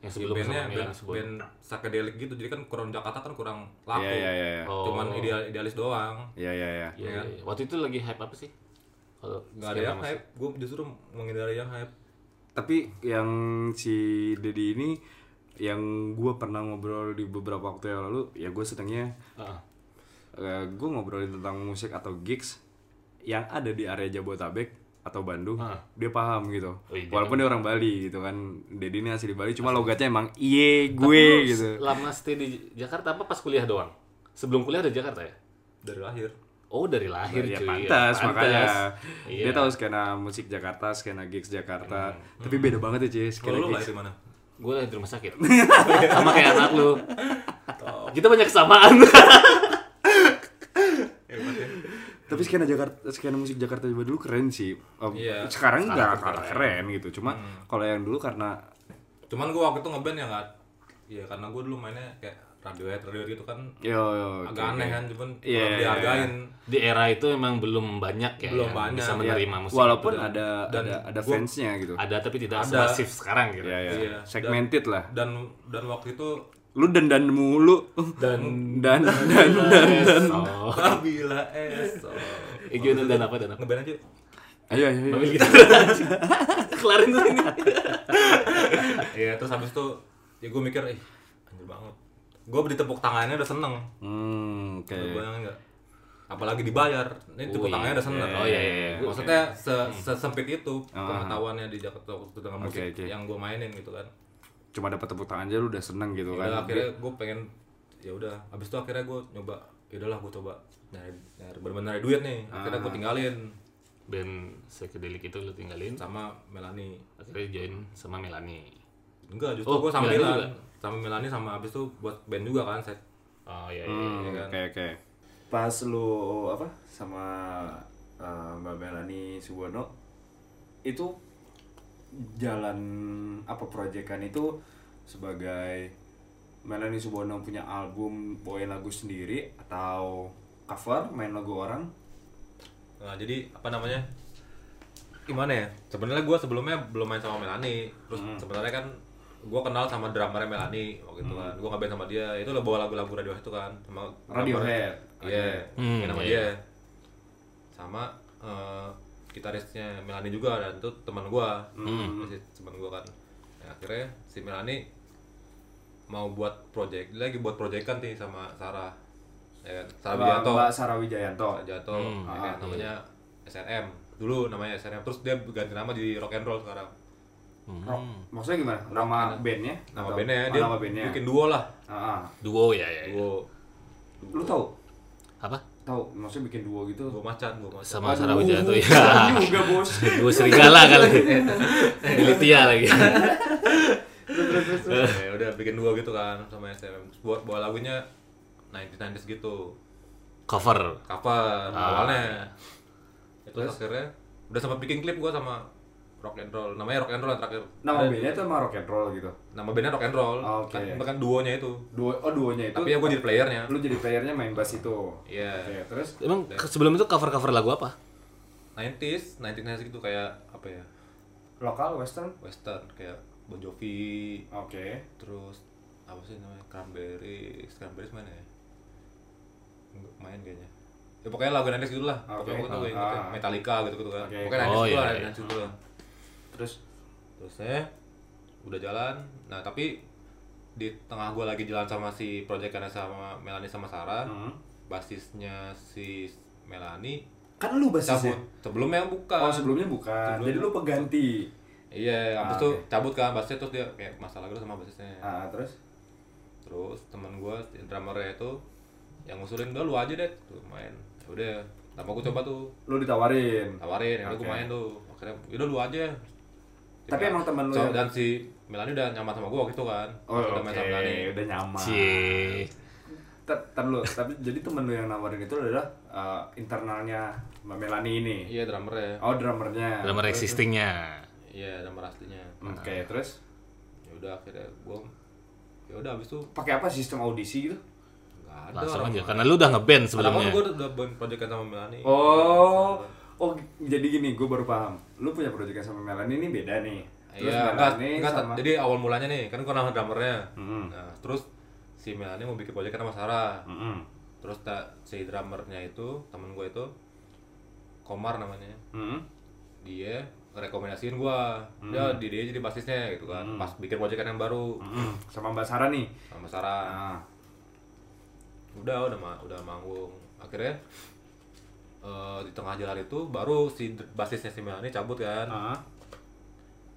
Speaker 2: Yang sebelum
Speaker 3: bandnya
Speaker 2: sama
Speaker 3: band,
Speaker 2: Melani Subono.
Speaker 3: band psychedelic gitu jadi kan kurang Jakarta kan kurang laku
Speaker 4: Iya, iya, iya, iya.
Speaker 2: Oh.
Speaker 3: cuman ideal idealis doang
Speaker 4: Iya, iya, iya.
Speaker 2: Iya, iya, iya. Waktu itu lagi hype apa sih? Kalau
Speaker 3: nggak ada ya?
Speaker 2: skena
Speaker 3: yang
Speaker 2: mas-
Speaker 3: hype gue justru menghindari yang hype
Speaker 4: Tapi yang si Dedi ini yang gua pernah ngobrol di beberapa waktu yang lalu, ya gue senengnya
Speaker 2: Heeh.
Speaker 4: eh, gua ngobrolin tentang musik atau gigs yang ada di area Jabotabek atau Bandung,
Speaker 2: Ah.
Speaker 4: dia paham gitu.
Speaker 2: Oh, iya, dia
Speaker 4: Walaupun dia orang Bali gitu kan, Dedi ini asli Bali, cuma logatnya emang iye
Speaker 2: Tapi
Speaker 4: gue
Speaker 2: lu
Speaker 4: gitu.
Speaker 2: Lama stay di Jakarta apa pas kuliah doang? Sebelum kuliah ada Jakarta ya?
Speaker 3: dari lahir
Speaker 2: Oh dari lahir
Speaker 4: Ya
Speaker 2: cuy.
Speaker 4: pantas, makanya dia
Speaker 2: Iya.
Speaker 4: tahu skena musik Jakarta, skena gigs Jakarta. Tapi beda banget ya Cie, skena
Speaker 3: kalau lu lahir
Speaker 4: gigs.
Speaker 3: di mana
Speaker 2: Gue lahir di rumah sakit. Sama kayak anak lu. Kita banyak kesamaan.
Speaker 4: Tapi skena Jakarta, skena musik Jakarta juga dulu keren sih. Om,
Speaker 3: Iya.
Speaker 4: Sekarang nggak kalah keren gitu. Cuma kalau yang dulu karena
Speaker 3: cuman gue waktu itu ngeband ya nggak ya karena gue dulu mainnya kayak radiohead radiohead gitu kan
Speaker 4: yo, yo
Speaker 3: agak aneh kan cuman
Speaker 4: Iya,
Speaker 3: kurang
Speaker 4: iya,
Speaker 3: dihargain
Speaker 2: di era itu emang belum banyak ya.
Speaker 3: Belum
Speaker 2: yang
Speaker 3: banyak.
Speaker 2: Bisa menerima musik.
Speaker 4: walaupun
Speaker 2: itu.
Speaker 4: ada
Speaker 3: dan
Speaker 4: ada ada
Speaker 3: gua-
Speaker 4: fansnya gitu.
Speaker 2: ada tapi tidak
Speaker 3: Ada.
Speaker 2: semasif sekarang gitu.
Speaker 4: Ya, ya.
Speaker 3: Iya.
Speaker 4: Segmented lah.
Speaker 3: dan dan waktu itu
Speaker 4: Lu dandan mulu.
Speaker 2: Dan
Speaker 4: Dan dan dan.
Speaker 2: dan
Speaker 4: Oh.
Speaker 3: Babila esok
Speaker 2: Gimana Oh. dan apa dan apa?
Speaker 3: oh. ngeband aja
Speaker 4: Ayo ayo. ayo.
Speaker 2: Ambil gitu. Kelarin tuh ini.
Speaker 3: Iya, terus habis itu ya gue mikir, ih anjir banget. Gue ditepuk tangannya udah seneng.
Speaker 4: Hmm, oke.
Speaker 3: Lu bayangin nggak? Apalagi dibayar, ini tepuk
Speaker 2: iya.
Speaker 3: tangannya udah seneng.
Speaker 2: Oh, iya, iya, iya.
Speaker 3: Maksudnya se- sesempit itu
Speaker 2: Ah.
Speaker 3: pengetahuannya di Jakarta waktu itu dengan
Speaker 4: Oke,
Speaker 3: musik
Speaker 4: oke.
Speaker 3: yang gue mainin gitu kan.
Speaker 4: Cuma dapat tepuk tangan aja lu udah seneng gitu
Speaker 3: Ya,
Speaker 4: kan.
Speaker 3: akhirnya gue pengen, ya udah. Habis itu akhirnya gue nyoba, ya udahlah gue coba nyari, nyari benar-benar duit nih. Akhirnya
Speaker 2: Ah.
Speaker 3: gue tinggalin
Speaker 2: Band psychedelic itu lu tinggalin
Speaker 3: sama Melani.
Speaker 2: akhirnya join sama Melani.
Speaker 3: Enggak, justru
Speaker 2: Oh,
Speaker 3: gue
Speaker 2: Melani juga?
Speaker 3: sambilan sama Melani sama habis itu buat band juga kan set.
Speaker 2: Oh iya iya.
Speaker 4: Hmm,
Speaker 3: Iya kan?
Speaker 4: Oke oke.
Speaker 1: Pas lu apa sama eh, Mbak Melani Subono itu jalan apa proyekan itu sebagai Melani Subono punya album bawain lagu sendiri atau cover main lagu orang
Speaker 3: Nah, jadi apa namanya? Gimana ya? Sebenarnya gua sebelumnya belum main sama Melani. Terus sebenarnya kan gua kenal sama drummernya Melani waktu itu kan. Gua ngeband sama dia. Itu lo bawa lagu-lagu Radiohead itu kan sama
Speaker 1: Radiohead.
Speaker 3: drummer. Iya.
Speaker 2: Hmm,
Speaker 3: main sama
Speaker 2: iya.
Speaker 3: dia. Sama eh, gitarisnya Melani juga dan itu teman gua. Masih teman gua kan. Nah, akhirnya si Melani mau buat project, dia lagi buat project kan nih sama Sarah. Ya kan? Sarah
Speaker 1: Mbak,
Speaker 3: Widianto.
Speaker 1: Mbak Sarah Wijayanto
Speaker 3: Jatuh, ya kan, namanya SNM dulu namanya SNM terus dia ganti nama jadi rock and roll sekarang
Speaker 1: Rock. maksudnya gimana nama bandnya
Speaker 3: Hmm. nama
Speaker 1: Atau-
Speaker 3: bandnya
Speaker 1: oh,
Speaker 3: dia
Speaker 1: nama bandnya
Speaker 3: bikin duo lah
Speaker 1: Ah, ah.
Speaker 2: Duo ya
Speaker 4: Iya.
Speaker 2: ya. ya.
Speaker 3: duo
Speaker 1: lu tahu
Speaker 2: Apa?
Speaker 1: tahu maksudnya bibikin duo gitu
Speaker 3: duo macan duo macan
Speaker 1: Aduh,
Speaker 2: Sama Sarah Wijayanto
Speaker 3: iya.
Speaker 2: ya.
Speaker 1: bukan juga bos
Speaker 2: Duo serigala kali. Militia lagi.
Speaker 3: ya udah bikin duo gitu kan sama SNM terus buat bawa lagunya 90s gitu
Speaker 2: Cover.
Speaker 3: cover awalnya itu akhirnya udah sempat bikin klip gua sama rock and roll namanya rock and roll yang terakhir
Speaker 4: Nama bandnya tuh emang rock and roll gitu.
Speaker 3: nama bandnya rock and roll
Speaker 4: Oh, Oke.
Speaker 3: kan, bahkan duonya itu
Speaker 4: Duo, oh duonya itu.
Speaker 3: tapi ya gue jadi playernya
Speaker 4: lu jadi playernya main bass itu.
Speaker 3: Iya.
Speaker 4: Oke, terus
Speaker 2: Emang ke- sebelum itu cover-cover lagu apa?
Speaker 3: 90s 1990s gitu kayak apa ya
Speaker 4: lokal western.
Speaker 3: western kayak Bon Jovi
Speaker 4: Oke.
Speaker 3: terus apa sih namanya Cranberries Cranberries mana ya Nggak main kayaknya ya pokoknya lagu Nandes gitu lah
Speaker 4: Oke.
Speaker 3: pokoknya gue tuh gue inget
Speaker 4: Ah.
Speaker 3: Metallica gitu gitu kan
Speaker 4: Oke.
Speaker 3: pokoknya Nandes
Speaker 2: Oh,
Speaker 3: gitu
Speaker 2: iya,
Speaker 3: lah
Speaker 2: iya.
Speaker 3: Nandes gitu lah
Speaker 4: Terus
Speaker 3: terusnya udah jalan nah tapi di tengah gue lagi jalan sama si project karena sama Melanie sama Sarah
Speaker 4: Hmm.
Speaker 3: basisnya si Melanie
Speaker 4: kan lu
Speaker 3: cabut
Speaker 4: bassisnya.
Speaker 3: sebelumnya bukan
Speaker 4: Oh, sebelumnya bukan.
Speaker 3: Sebelumnya
Speaker 4: Jadi lu pengganti.
Speaker 3: iya
Speaker 4: Ah,
Speaker 3: abis tuh cabut kan basisnya terus dia kayak masalah gitu sama basisnya
Speaker 4: Ah, terus
Speaker 3: terus teman gue drummernya itu yang ngusulin udah lu aja deh tuh main Ya udah tanpa gue coba tuh
Speaker 4: lu ditawarin.
Speaker 3: tawarin akhirnya gue
Speaker 4: Oke.
Speaker 3: main tuh akhirnya "Ya udah lu aja Iya.
Speaker 4: Tapi emang temen lu
Speaker 3: So-
Speaker 4: yang-
Speaker 3: dan si Melani udah nyaman sama gue waktu itu kan
Speaker 4: Oh,
Speaker 3: udah
Speaker 4: oke,
Speaker 3: main sama Melani
Speaker 4: udah nyaman.
Speaker 2: Cie.
Speaker 4: Ter- Ter, lu, tapi jadi temen lu yang nawarin itu adalah eh, internalnya Mbak Melani ini.
Speaker 3: iya drummernya
Speaker 4: Oh, drummernya.
Speaker 2: Drummer
Speaker 4: Terus-
Speaker 2: existingnya.
Speaker 3: iya drummer aslinya
Speaker 4: Oke, terus
Speaker 3: ya udah akhirnya gue ya udah abis tuh
Speaker 4: pakai apa sistem audisi gitu?
Speaker 3: nggak ada
Speaker 2: Langsung ya?
Speaker 3: orang-
Speaker 2: aja, karena lu udah ngeband
Speaker 3: Padahal
Speaker 2: sebelumnya.
Speaker 3: gue udah buat proyekan sama Melani
Speaker 4: Oh,
Speaker 3: Iya.
Speaker 4: oh jadi gini, gue baru paham. Lu punya proyekan sama Melanie ini beda nih. Terus
Speaker 3: Iya, enggak,
Speaker 4: Melanie
Speaker 3: enggak,
Speaker 4: sama Hmm.
Speaker 3: jadi awal mulanya nih, kan gua nama drummernya Nah, terus si Melanie mau bikin proyek sama Sarah
Speaker 4: Mm-mm.
Speaker 3: Terus ta- si drummernya itu, temen gue itu Komar namanya
Speaker 4: Mm-mm.
Speaker 3: Dia rekomendasiin gua
Speaker 4: Hmm.
Speaker 3: Ya, di dia jadi basisnya gitu kan Pas bikin proyekan yang baru
Speaker 4: Mm-mm. hmm. sama Mbak Sarah nih.
Speaker 3: sama Sarah
Speaker 4: Ah,
Speaker 3: Udah, udah, ma- udah manggung Akhirnya eh, di tengah jalan itu baru si dr- basisnya si Melanie cabut kan
Speaker 4: ah.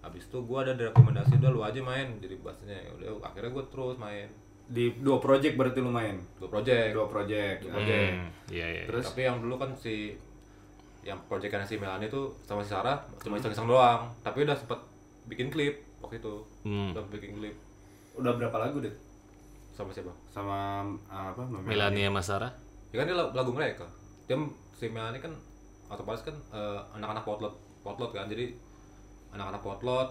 Speaker 3: Habis itu gua ada rekomendasi udah lu aja main jadi basisnya Ya udah akhirnya gua terus main
Speaker 4: Di dua project berarti lu main.
Speaker 3: dua project
Speaker 4: Dua project.
Speaker 3: Dua
Speaker 4: Oke.
Speaker 2: Hmm, Iya, iya.
Speaker 4: Terus?
Speaker 3: tapi yang dulu kan si yang proyekannya si Melani tuh sama si Sarah cuma iseng-iseng doang tapi udah sempet bikin klip waktu itu
Speaker 2: Hmm.
Speaker 3: udah bikin klip
Speaker 4: Udah berapa lagu deh?
Speaker 3: sama siapa
Speaker 4: Sama ah, apa? Mbak Melanie.
Speaker 2: Melania Masara.
Speaker 3: ya kan dia lagu, lagu mereka dia si Melani kan otomatis kan eh, anak-anak potlot potlot kan jadi anak-anak potlot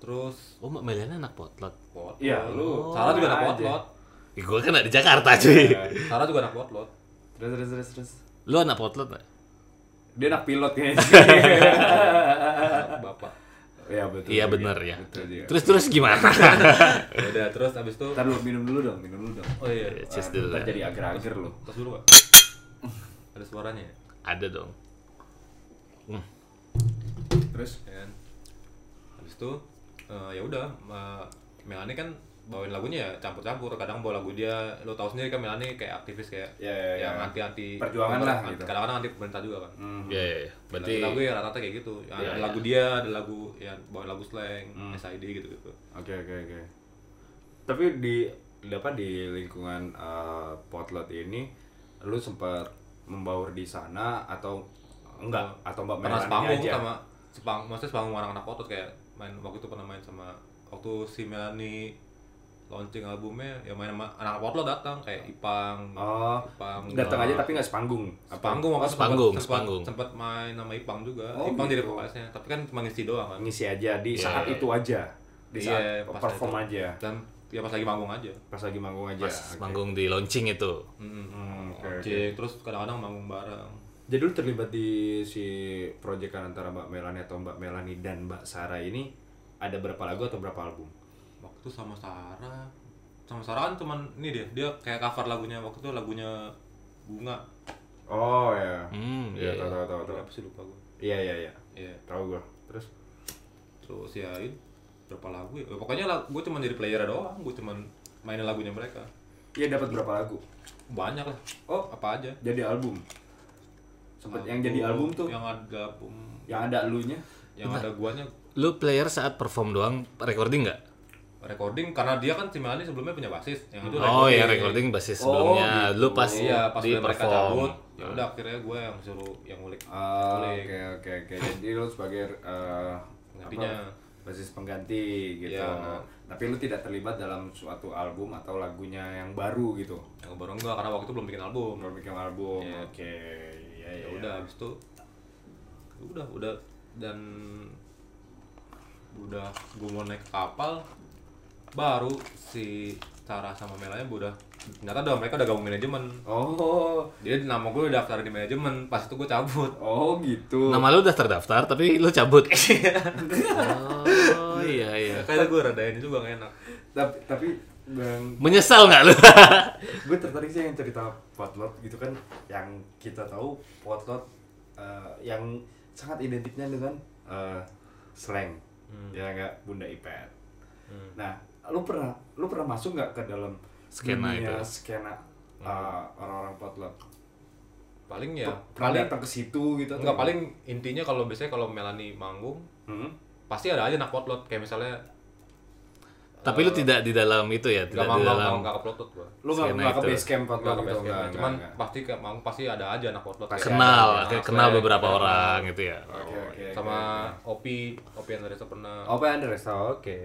Speaker 3: terus
Speaker 2: Oh, Mbak Melania anak potlot.
Speaker 3: potlot
Speaker 4: Iya, lu.
Speaker 3: Sarah juga anak
Speaker 4: aja.
Speaker 3: potlot
Speaker 2: Ih, Gua kan ada di Jakarta cuy.
Speaker 3: Sarah juga anak potlot
Speaker 4: Terus terus terus terus.
Speaker 2: Iya. Lu anak potlot nggak?
Speaker 4: Dia anak pilot kayaknya.
Speaker 3: anak bapak
Speaker 4: Iya betul.
Speaker 2: Iya
Speaker 4: juga.
Speaker 2: bener ya.
Speaker 4: Betul juga.
Speaker 2: Terus terus gimana?
Speaker 3: ya udah terus abis itu
Speaker 4: Ntar lu minum dulu dong, minum dulu dong.
Speaker 3: oh iya
Speaker 2: Cheers
Speaker 4: Ah,
Speaker 2: dulu
Speaker 4: ntar
Speaker 2: lah.
Speaker 4: jadi agar-agar lu.
Speaker 3: terus dulu pak ada suaranya ya
Speaker 2: Ada dong. Hmm.
Speaker 4: Terus
Speaker 3: kan habis itu eh, ya udah eh, Melani kan bawain lagunya ya campur-campur kadang bawa lagu dia lo tau sendiri kan Melani kayak aktivis kayak
Speaker 4: Ya, ya, ya.
Speaker 3: yang anti-anti
Speaker 4: Perjuangan lah, gitu.
Speaker 3: kadang-kadang anti pemerintah juga kan
Speaker 2: Iya, iya, iya. Berarti
Speaker 3: lagu ya rata-rata kayak gitu Ya,
Speaker 4: Iya,
Speaker 3: ada lagu dia ada lagu yang bawain lagu slang
Speaker 4: Hmm.
Speaker 3: SID gitu gitu
Speaker 4: Oke oke oke. Tapi di, di apa di lingkungan eh, potlot ini, lu sempat membaur di sana atau enggak? Atau mbak
Speaker 3: pernah
Speaker 4: Melani
Speaker 3: sepanggung
Speaker 4: aja?
Speaker 3: sama sepang maksudnya sepanggung anak-anak otot kayak main waktu itu pernah main sama waktu si Melani launching albumnya ya main sama anak potlot datang kayak Ipang
Speaker 4: Oh,
Speaker 3: Ipang
Speaker 4: datang aja
Speaker 3: Ipang.
Speaker 4: tapi nggak sepanggung. Apa?
Speaker 3: Sepanggung apa
Speaker 2: Sepanggung,
Speaker 3: sempat,
Speaker 2: sepanggung.
Speaker 3: sempat main nama Ipang juga.
Speaker 4: Oh,
Speaker 3: Ipang jadi
Speaker 4: gitu.
Speaker 3: vokalisnya, tapi kan cuma ngisi doang kan.
Speaker 4: Ngisi aja di
Speaker 2: Iya,
Speaker 4: saat
Speaker 2: iya.
Speaker 4: itu aja, di saat
Speaker 3: Iya, pas
Speaker 4: perform
Speaker 3: itu.
Speaker 4: aja,
Speaker 3: Dan ya pas lagi manggung aja.
Speaker 4: pas lagi manggung aja.
Speaker 2: pas
Speaker 4: Oke.
Speaker 2: manggung di launching itu.
Speaker 3: Heeh.
Speaker 4: Hmm, oke, oke.
Speaker 3: terus kadang-kadang manggung bareng.
Speaker 4: Jadi lu terlibat di si proyekan antara Mbak Melani atau Mbak Melani dan Mbak Sarah ini ada berapa lagu atau berapa album?
Speaker 3: Waktu itu sama Sarah sama Sarah kan cuman ini dia, dia kayak cover lagunya waktu itu lagunya Bunga.
Speaker 4: Oh ya.
Speaker 2: Hmm,
Speaker 4: iya,
Speaker 2: iya,
Speaker 4: tahu tahu tahu tahu.
Speaker 3: Berapa sih lupa gue.
Speaker 4: Iya iya iya.
Speaker 3: Iya.
Speaker 4: Tahu gua. Terus
Speaker 3: Terus ya ini berapa lagu ya? Pokoknya gue cuman jadi player doang, gue cuman mainin lagunya mereka.
Speaker 4: Iya dapat berapa lagu?
Speaker 3: Banyak lah.
Speaker 4: Oh.
Speaker 3: apa aja?
Speaker 4: Jadi album. Sempet yang jadi album tuh
Speaker 3: Yang ada album
Speaker 4: yang ada elunya.
Speaker 3: yang ada guanya
Speaker 2: Lu player saat perform doang recording nggak?
Speaker 3: recording karena dia kan si Melani sebelumnya punya basis yang itu
Speaker 2: Oh ya recording basis sebelumnya. Lu pas
Speaker 3: Oh, iya pas
Speaker 2: di
Speaker 3: mereka
Speaker 2: perform.
Speaker 3: cabut ya udah akhirnya gue yang suruh yang ngulik
Speaker 4: Ah,
Speaker 3: Boleh.
Speaker 4: Oke oke oke. Jadi lu sebagai eh,
Speaker 3: Penggantinya.
Speaker 4: apa, basis pengganti gitu.
Speaker 3: Iya.
Speaker 4: Nah, tapi lu tidak terlibat dalam suatu album atau lagunya yang baru gitu.
Speaker 3: yang bareng gue karena waktu itu belum bikin album
Speaker 4: Baru bikin album.
Speaker 3: Iya.
Speaker 4: Oke. Iya
Speaker 3: ya
Speaker 4: iya.
Speaker 3: udah habis itu udah udah dan udah gue mau naik kapal baru si Sarah sama Melanya gua udah ternyata udah mereka udah gabung manajemen
Speaker 4: Oh,
Speaker 3: jadi nama gue udah daftar di manajemen pas itu gue cabut
Speaker 4: oh gitu.
Speaker 2: Nama lu udah terdaftar tapi lu cabut. oh iya iya.
Speaker 3: kayaknya gue rada ini juga gak enak
Speaker 4: Tapi tapi bang,
Speaker 2: Menyesal nggak lu?
Speaker 4: gue tertarik sih yang cerita potlot gitu kan, yang kita tahu potlot eh, yang sangat identiknya dengan eh, slang,
Speaker 3: Hmm.
Speaker 4: ya nggak bunda ipet. Nah, lu pernah lu pernah masuk nggak ke dalam
Speaker 2: Skena
Speaker 4: dunia
Speaker 2: itu.
Speaker 4: skena
Speaker 3: Hmm.
Speaker 4: eh, orang-orang potlot?
Speaker 3: paling ya
Speaker 4: Paling
Speaker 3: paling
Speaker 4: datang ke situ gitu? atau
Speaker 3: Enggak
Speaker 4: gimana?
Speaker 3: paling intinya kalau biasanya kalau Melanie manggung
Speaker 4: Hmm?
Speaker 3: pasti ada aja anak potlot kayak misalnya
Speaker 2: tapi lu tidak di dalam itu ya, tidak
Speaker 3: nggak
Speaker 2: di
Speaker 3: manggung
Speaker 2: dalam.
Speaker 3: nggak ke potlot gue
Speaker 4: lu nggak
Speaker 2: Skena
Speaker 4: nggak ke
Speaker 2: itu.
Speaker 4: base camp potlot
Speaker 3: nggak ke
Speaker 4: gitu?
Speaker 3: basket
Speaker 4: Nggak,
Speaker 3: cuman
Speaker 4: nggak, nggak.
Speaker 3: pasti ke manggung pasti ada aja anak ya. Iya, potlot
Speaker 4: Pasti
Speaker 3: Kayak
Speaker 2: Kenal,
Speaker 3: ada
Speaker 2: kayak
Speaker 3: anak
Speaker 2: kenal
Speaker 3: Slack,
Speaker 2: beberapa
Speaker 3: ada-
Speaker 2: orang gitu ya.
Speaker 4: Oke, oke, oke,
Speaker 3: sama
Speaker 4: oke.
Speaker 3: Opi iya, Opi Andresa pernah
Speaker 4: Open Andres, oh, oke.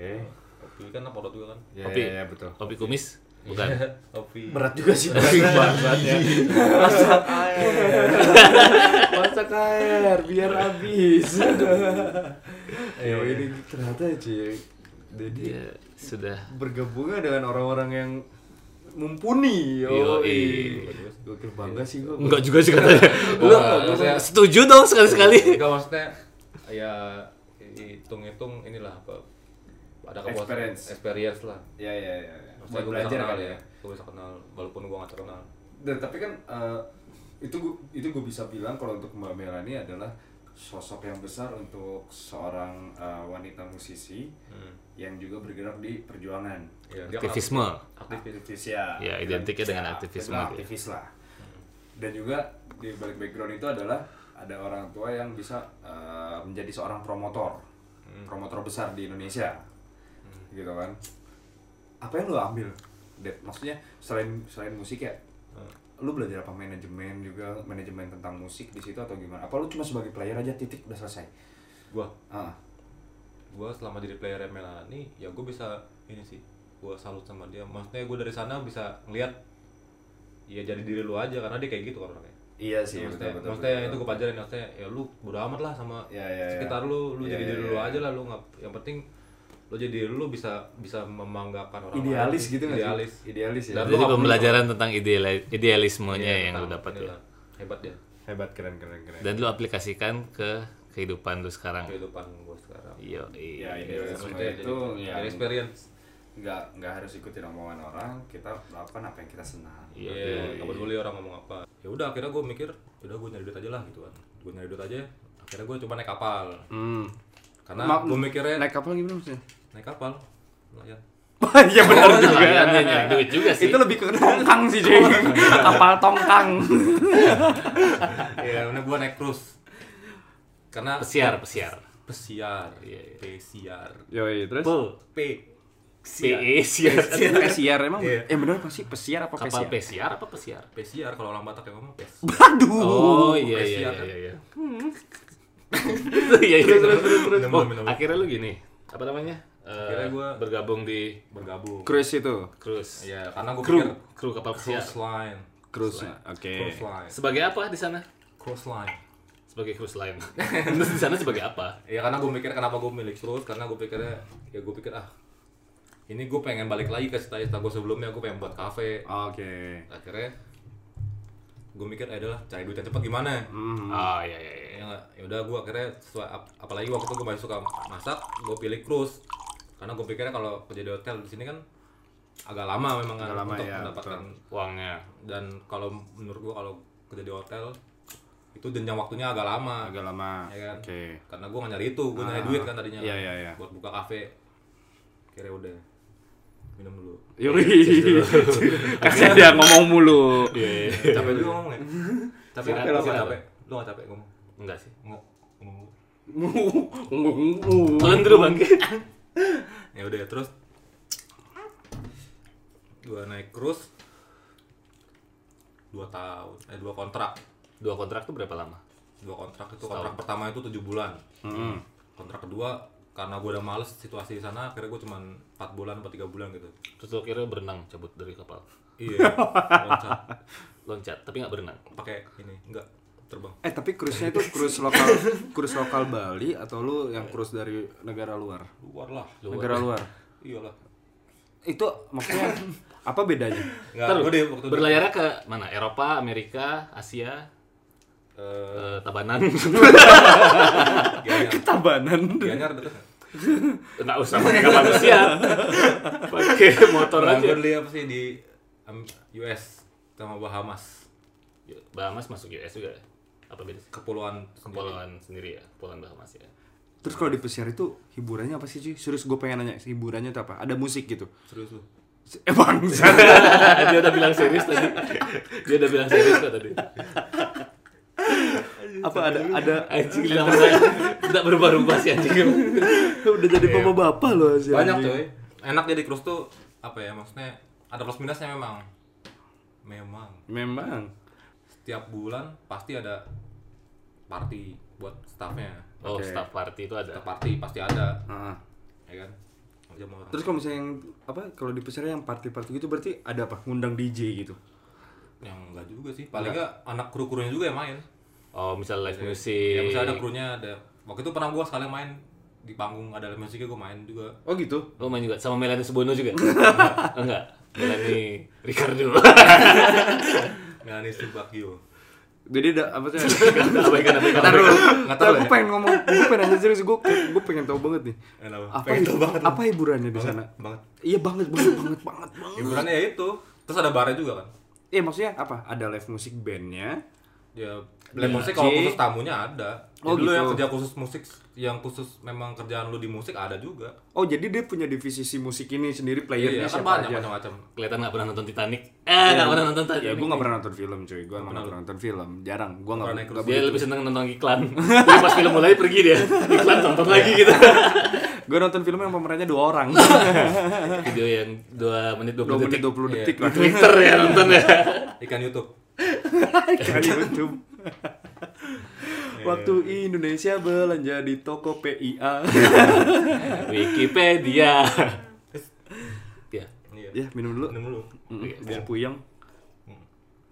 Speaker 3: Opi kan anak potlot juga kan
Speaker 4: Ya,
Speaker 2: Opi.
Speaker 4: ya, ya, betul.
Speaker 2: Kopi kumis? Bukan.
Speaker 3: Opi
Speaker 4: Berat juga sih Iya. bahannya. Masak air. Masak air biar habis. Ya ini ternyata sih. Jadi
Speaker 2: Dia Iya, sudah
Speaker 4: bergabungnya dengan orang-orang yang mumpuni.
Speaker 2: Yoi.
Speaker 4: Yoi. Gue bangga sih gue.
Speaker 2: Enggak juga sih katanya. Lu
Speaker 3: Enggak, maksudnya- Iya,
Speaker 2: setuju dong sekali-sekali.
Speaker 3: Enggak maksudnya ya hitung-hitung inilah apa ada kepuasan
Speaker 4: Experience.
Speaker 3: experience lah
Speaker 4: Ya ya ya. ya.
Speaker 3: Maksudnya
Speaker 4: Buat
Speaker 3: gue bisa
Speaker 4: belajar
Speaker 3: kenal
Speaker 4: kali
Speaker 3: ya
Speaker 4: ya.
Speaker 3: gue bisa kenal walaupun gue gak terkenal
Speaker 4: dan tapi kan eh, itu gua, itu gue bisa bilang kalau untuk Mbak Melani adalah sosok yang besar untuk seorang eh, wanita musisi
Speaker 3: Hmm.
Speaker 4: yang juga bergerak di perjuangan
Speaker 2: Iya.
Speaker 3: Ya, dia kan
Speaker 2: Aktivisme.
Speaker 3: aktif aktif.
Speaker 4: ya
Speaker 2: Ya, identiknya dengan aktivisme
Speaker 4: Dengan
Speaker 2: dia.
Speaker 4: aktivis lah dan juga di balik background itu adalah ada orang tua yang bisa eh, menjadi seorang promotor
Speaker 3: Hmm.
Speaker 4: promotor besar di Indonesia gitu kan apa yang lo ambil Dep? maksudnya selain selain musik ya
Speaker 3: Hmm.
Speaker 4: lu belajar apa manajemen juga manajemen tentang musik di situ atau gimana apa lu cuma sebagai player aja titik udah selesai
Speaker 3: Gua
Speaker 4: ah
Speaker 3: gue selama jadi player Melani ya gue bisa ini sih gue salut sama dia maksudnya gue dari sana bisa ngeliat ya jadi diri lu aja karena dia kayak gitu kan orangnya
Speaker 4: iya sih betul
Speaker 3: maksudnya,
Speaker 4: betul,
Speaker 3: maksudnya
Speaker 4: betul.
Speaker 3: itu gue pelajarin maksudnya ya lu bodo amat lah sama
Speaker 4: Ya, ya, ya.
Speaker 3: sekitar lu lu
Speaker 4: Ya,
Speaker 3: jadi
Speaker 4: ya,
Speaker 3: diri
Speaker 4: ya,
Speaker 3: lu
Speaker 4: ya.
Speaker 3: aja lah lu nggak yang penting lu jadi diri lu bisa bisa membanggakan orang lain.
Speaker 4: idealis gitu nggak sih?
Speaker 3: idealis
Speaker 4: idealis ya
Speaker 3: Dan
Speaker 2: Jadi
Speaker 3: lu nggak
Speaker 2: pembelajaran tentang ideali- idealismenya
Speaker 3: Iya,
Speaker 2: yang lu
Speaker 3: tentang
Speaker 2: dapat ya.
Speaker 3: inilah. hebat ya
Speaker 4: hebat keren keren keren
Speaker 2: Dan lu aplikasikan ke kehidupan lu sekarang.
Speaker 3: kehidupan gue sekarang
Speaker 2: Iya,
Speaker 4: ya
Speaker 2: iya.
Speaker 4: idealisme
Speaker 3: Maksudnya
Speaker 4: itu
Speaker 3: jadi,
Speaker 4: ya
Speaker 3: jadi experience
Speaker 4: nggak nggak harus ikutin omongan orang kita melakukan apa yang kita senang
Speaker 2: Iya,
Speaker 3: Iya, nggak peduli orang ngomong apa. Ya udah akhirnya gue mikir, "Ya udah gue nyari duit aja lah gitu kan. Gue nyari duit aja. Akhirnya gue coba naik kapal.
Speaker 5: Hmm.
Speaker 3: Karena
Speaker 5: Ma-
Speaker 3: gue mikirnya naik,
Speaker 5: Naik kapal gimana ya? maksudnya?
Speaker 3: kapal. Nelayan.
Speaker 5: Iya benar juga. Oh,
Speaker 2: Iya, nyari duit juga sih.
Speaker 5: Itu lebih ke tongkang sih, cuy. kapal tongkang.
Speaker 3: Iya, bener gue naik cruise. Karena
Speaker 2: pesiar, pesiar.
Speaker 3: pesiar,
Speaker 2: Iya, iya.
Speaker 3: pesiar,
Speaker 5: Yoi, terus
Speaker 2: Pul.
Speaker 3: P.
Speaker 2: PE siar.
Speaker 5: pesiar emang
Speaker 4: Iya.
Speaker 5: eh bener apa sih pesiar apa pesiar?
Speaker 2: Kapal pesiar apa pesiar?
Speaker 3: Pesiar kalau orang Batak yang ngomong pes.
Speaker 5: Aduh.
Speaker 2: Oh iya iya
Speaker 3: pesiar
Speaker 2: iya
Speaker 3: kan?
Speaker 2: iya. Iya iya. Oh,
Speaker 3: minum, minum.
Speaker 2: akhirnya lu gini, apa namanya? Eh,
Speaker 3: Akhirnya gua-
Speaker 2: bergabung di
Speaker 3: Bergabung.
Speaker 5: Cruise itu.
Speaker 2: cruise.
Speaker 3: Iya, karena gue
Speaker 2: Kru,
Speaker 3: pikir
Speaker 2: kru kapal pesiar.
Speaker 3: cruise line.
Speaker 5: Cruise. Oke.
Speaker 3: Cruise line.
Speaker 2: Sebagai apa di sana?
Speaker 3: Cruise line.
Speaker 2: Sebagai cruise line. Terus di sana sebagai apa?
Speaker 3: Ya karena gue mikir kenapa gue milik terus karena gue pikirnya ya gue pikir ah ini gue pengen balik lagi ke cita-cita gue sebelumnya gue pengen buat kafe
Speaker 5: Oke.
Speaker 3: akhirnya gue mikir eh adalah cari duit yang cepat gimana
Speaker 5: Hmm,
Speaker 2: Ah iya iya iya.
Speaker 3: ya nggak? ya udah gue akhirnya sesuai ap- apalagi waktu itu gue masih suka masak gue pilih cruise karena gue pikirnya kalau kerja di hotel di sini kan agak lama memang kan
Speaker 5: Agak lama,
Speaker 3: untuk
Speaker 5: ya,
Speaker 3: mendapatkan
Speaker 2: Uangnya.
Speaker 3: dan kalau menurut gue kalau kerja di hotel itu jenjang waktunya agak lama
Speaker 5: Agak lama.
Speaker 3: ya kan
Speaker 5: Oke.
Speaker 3: karena gue gak nyari itu gue nyari duit kan tadinya
Speaker 5: Iya,
Speaker 3: kan.
Speaker 5: iya, iya.
Speaker 3: buat buka kafe kira udah minum dulu
Speaker 5: Yoi. Iya, Kasihan dia ngomong mulu. iya.
Speaker 3: capek juga ngomong ya capek
Speaker 2: Silakan,
Speaker 3: capek lu gak
Speaker 2: silakan.
Speaker 3: capek lu gak capek ngomong
Speaker 2: Enggak sih.
Speaker 3: ngomong ngomong
Speaker 2: Makan dulu bang.
Speaker 3: ya udah terus gue naik cruise dua tahun eh dua kontrak
Speaker 2: Dua kontrak tuh berapa lama?
Speaker 3: dua kontrak itu kontrak pertama itu tujuh bulan kontrak kedua karena gue udah males situasi di sana akhirnya gue cuman empat bulan atau tiga bulan gitu
Speaker 2: Terus lu kira berenang cabut dari kapal.
Speaker 3: iya loncat
Speaker 2: Loncat tapi nggak berenang.
Speaker 3: pakai ini enggak terbang.
Speaker 4: Eh tapi cruise-nya itu cruise lokal cruise lokal Bali atau lu yang cruise dari negara luar?
Speaker 3: Luar lah.
Speaker 4: Negara luar.
Speaker 3: Iyalah.
Speaker 4: Itu maksudnya apa bedanya?
Speaker 3: Enggak,
Speaker 2: Ntar
Speaker 3: gue deh waktu itu
Speaker 2: berlayarnya ke mana? Eropa, Amerika, Asia,
Speaker 3: eh
Speaker 2: eh, Tabanan.
Speaker 3: Gianyar.
Speaker 4: Tabanan.
Speaker 3: Gianyar deket.
Speaker 2: Nggak usah pakai kapal pesiar. pakai motor
Speaker 3: Orang
Speaker 2: aja.
Speaker 3: gue Nah, beli apa sih di um, US sama Bahamas.
Speaker 2: Bahamas masuk US juga. Apa beda sih?
Speaker 3: Kepulauan sendiri.
Speaker 2: Kepulauan sendiri ya, Kepulauan Bahamas ya.
Speaker 4: Terus kalau di pesiar itu hiburannya apa sih cuy? Serius gue pengen nanya hiburannya itu apa? Ada musik gitu?
Speaker 3: Serius lu.
Speaker 4: Emang
Speaker 2: Dia udah bilang serius tadi. Dia udah bilang serius kok tadi.
Speaker 4: apa ada ada
Speaker 2: Anjing lama banget. Tidak berubah-ubah sih anjing.
Speaker 4: udah jadi bapak bapak loh
Speaker 2: Iya,
Speaker 4: sih
Speaker 3: Banyak coy. Enak jadi cruise tuh apa ya maksudnya ada plus minusnya memang. Memang
Speaker 4: Memang.
Speaker 3: setiap bulan pasti ada party buat staffnya.
Speaker 2: Oh,
Speaker 4: Oke.
Speaker 2: staff party itu ada.
Speaker 3: Setiap party pasti ada,
Speaker 4: Ah.
Speaker 3: ya kan? Ya mau
Speaker 4: Terus kalau misalnya yang apa kalau di pesiar yang party-party gitu berarti ada apa? Ngundang DJ gitu.
Speaker 3: yang enggak juga sih. Paling enggak anak kru-krunya juga yang main.
Speaker 2: Oh, misal live
Speaker 3: Ya
Speaker 2: music.
Speaker 3: misalnya ada krunya ada. Waktu itu pernah gua sekali main di panggung ada live musiknya gua main juga.
Speaker 4: Oh gitu.
Speaker 2: Lo main juga sama Melanie Subono juga? Enggak. Melanie Ricardo.
Speaker 3: Melanie Subagio.
Speaker 4: Jadi ada apa sih?
Speaker 2: Abaikan abaikan.
Speaker 4: Taruh.
Speaker 3: Nggak tahu
Speaker 4: Taruh. Gue
Speaker 3: ya?
Speaker 4: pengen ngomong, gue pengen nanya serius, gue gue pengen tahu banget nih.
Speaker 3: Enak banget.
Speaker 4: Apa
Speaker 3: Pengen tahu banget lu.
Speaker 4: apa hiburannya di sana?
Speaker 3: banget.
Speaker 4: Iya banget banget banget banget. banget.
Speaker 3: Hiburannya ya itu. Terus ada barnya juga kan.
Speaker 4: Iya maksudnya apa? Ada live musik bandnya.
Speaker 3: Ya live musik kalau
Speaker 4: Jadi-
Speaker 3: khusus tamunya ada. Jadi
Speaker 4: Iya, Oh,
Speaker 3: lu yang
Speaker 4: gitu.
Speaker 3: kerja khusus musik yang khusus memang kerjaan lu di musik ada juga.
Speaker 4: Oh jadi dia punya divisi si musik ini sendiri
Speaker 3: Iya,
Speaker 4: playernya
Speaker 3: kan
Speaker 4: siapa
Speaker 3: banyak
Speaker 4: aja?
Speaker 3: macam-macam.
Speaker 2: Kelihatan nggak pernah nonton Titanic. Eh, nggak pernah nonton Titanic.
Speaker 4: Ya gue gak pernah nonton film cuy, gue emang gak pernah nonton film, jarang. Gue gak
Speaker 3: Pernah naik
Speaker 4: pernah.
Speaker 2: Dia lebih seneng nonton iklan. Jadi pas film mulai pergi dia. Iklan tonton
Speaker 4: Iya.
Speaker 2: lagi gitu.
Speaker 4: Gue nonton film yang pemerannya dua orang,
Speaker 2: Video yang 2 menit
Speaker 4: 2
Speaker 2: 20
Speaker 4: menit
Speaker 2: detik.
Speaker 4: 20
Speaker 3: Iya.
Speaker 4: detik lah.
Speaker 2: Twitter ya nonton ya.
Speaker 3: Ikan YouTube.
Speaker 4: Kali YouTube. Waktu
Speaker 2: Iya.
Speaker 4: Indonesia belanja di toko PIA.
Speaker 2: Wikipedia. ya.
Speaker 3: Iya.
Speaker 4: ya minum dulu.
Speaker 3: Minum dulu.
Speaker 2: Iya,
Speaker 4: Mm, Biar puyeng.
Speaker 2: Hmm.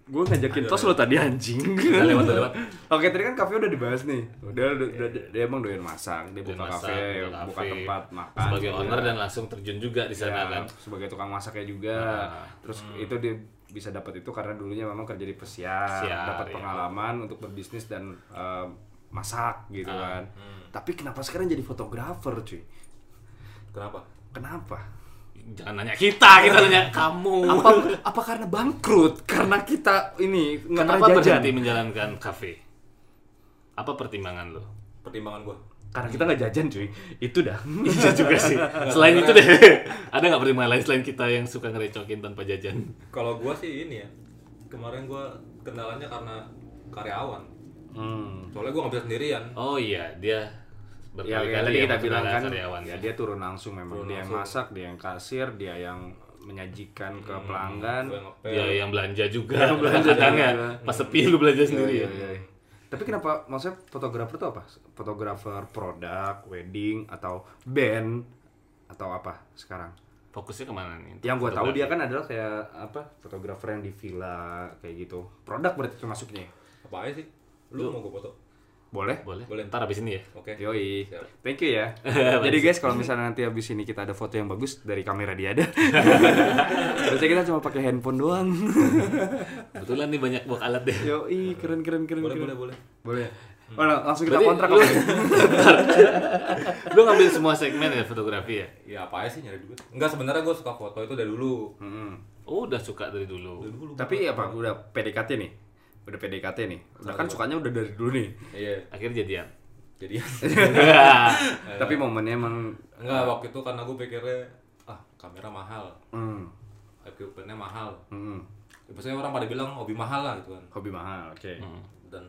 Speaker 4: Gue ngajakin tos lo tadi anjing.
Speaker 2: Udah lewat, udah lewat.
Speaker 4: Oke tadi kan kafe udah dibahas nih. Udah, udah, udah- dia emang doyan masak, dia
Speaker 2: Dia
Speaker 4: buka
Speaker 2: masak,
Speaker 4: kafe,
Speaker 2: buka
Speaker 4: buka
Speaker 2: kafe.
Speaker 4: tempat makan.
Speaker 2: Sebagai
Speaker 4: gitu.
Speaker 2: owner dan langsung terjun juga di sana
Speaker 4: Ya,
Speaker 2: kan. Nah. Hmm.
Speaker 4: sebagai tukang masaknya juga terus itu dia bisa dapat itu karena dulunya memang kerja di pesiar
Speaker 2: Pesiar,
Speaker 4: dapat
Speaker 2: ya.
Speaker 4: pengalaman untuk berbisnis dan um, masak gitu kan
Speaker 2: Ah, hmm.
Speaker 4: tapi kenapa sekarang jadi fotografer cuy
Speaker 3: Kenapa?
Speaker 4: kenapa
Speaker 2: Jangan nanya kita, kita nanya kamu.
Speaker 4: apa apa karena bangkrut karena kita ini nggak pernah
Speaker 2: Kenapa
Speaker 4: jajan
Speaker 2: berhenti menjalankan kafe? Apa pertimbangan lo?
Speaker 3: Pertimbangan gua.
Speaker 4: karena kita nggak jajan cuy itu dah
Speaker 2: Iya juga sih. Selain itu deh, ada nggak pertimbangan lain selain kita yang suka ngerecokin tanpa jajan?
Speaker 3: Kalau gua sih ini ya. Kemarin gua kendalanya karena karyawan.
Speaker 4: hmm.
Speaker 3: Soalnya gua nggak bisa sendirian.
Speaker 2: Oh iya, dia
Speaker 4: ya
Speaker 2: berkali-kali
Speaker 4: kayak tadi
Speaker 2: ya
Speaker 4: kita
Speaker 2: masalah
Speaker 4: bilang kan
Speaker 2: karyawan.
Speaker 4: ya dia turun langsung memang
Speaker 3: Turun
Speaker 4: dia yang masak dia yang kasir dia yang menyajikan ke pelanggan
Speaker 3: Gua yang ngepel.
Speaker 2: Dia Hmm. yang belanja juga.
Speaker 4: Ya. Yang belanja
Speaker 2: kadang
Speaker 4: juga.
Speaker 2: ya. Pas sepi lu belanja sendiri
Speaker 4: Iya,
Speaker 2: ya.
Speaker 4: iya, iya. Tapi kenapa maksudnya fotografer tuh apa? Fotografer produk, wedding atau band atau apa sekarang?
Speaker 2: Fokusnya kemana nih?
Speaker 4: Yang gue tahu dia kan adalah kayak apa? Fotografer yang di villa kayak gitu. Produk berarti termasuknya. ya?
Speaker 3: Apa aja sih? Lu mau gua foto?
Speaker 4: Boleh?
Speaker 2: boleh.
Speaker 3: Boleh.
Speaker 2: Ntar abis ini ya.
Speaker 3: Oke.
Speaker 4: Yoi.
Speaker 3: Siap.
Speaker 4: Thank you ya. Jadi guys kalau misalnya nanti habis ini kita ada foto yang bagus dari kamera dia ada. Biasanya kita cuma pakai handphone doang.
Speaker 2: Kebetulan nih banyak buat
Speaker 4: Ya.
Speaker 2: alat deh.
Speaker 4: Yoi, keren keren keren.
Speaker 3: Boleh,
Speaker 4: keren.
Speaker 3: boleh,
Speaker 4: Boleh.
Speaker 3: boleh.
Speaker 4: Oh, langsung kita
Speaker 2: Berarti
Speaker 4: kontrak
Speaker 2: lu-
Speaker 4: apa?
Speaker 2: lu ngambil semua segmen ya fotografi ya?
Speaker 3: Ya apa aja sih nyari duit? Hmm. Enggak sebenarnya gua suka foto itu dari dulu.
Speaker 4: Mm-mm.
Speaker 2: Oh, udah suka dari dulu.
Speaker 3: Dari dulu.
Speaker 4: Tapi apa udah PDKT nih? Udah PDKT nih. Udah kan sukanya udah dari dulu nih.
Speaker 3: Iya.
Speaker 2: Akhirnya jadian.
Speaker 3: Jadi
Speaker 4: Tapi momennya emang
Speaker 3: enggak waktu itu karena gua pikirnya ah kamera mahal,
Speaker 4: hmm,
Speaker 3: equipmentnya mahal.
Speaker 4: hmm,
Speaker 3: Ya, biasanya orang pada bilang hobi mahal lah gitu kan.
Speaker 4: hobi mahal, Hmm. oke.
Speaker 3: Dan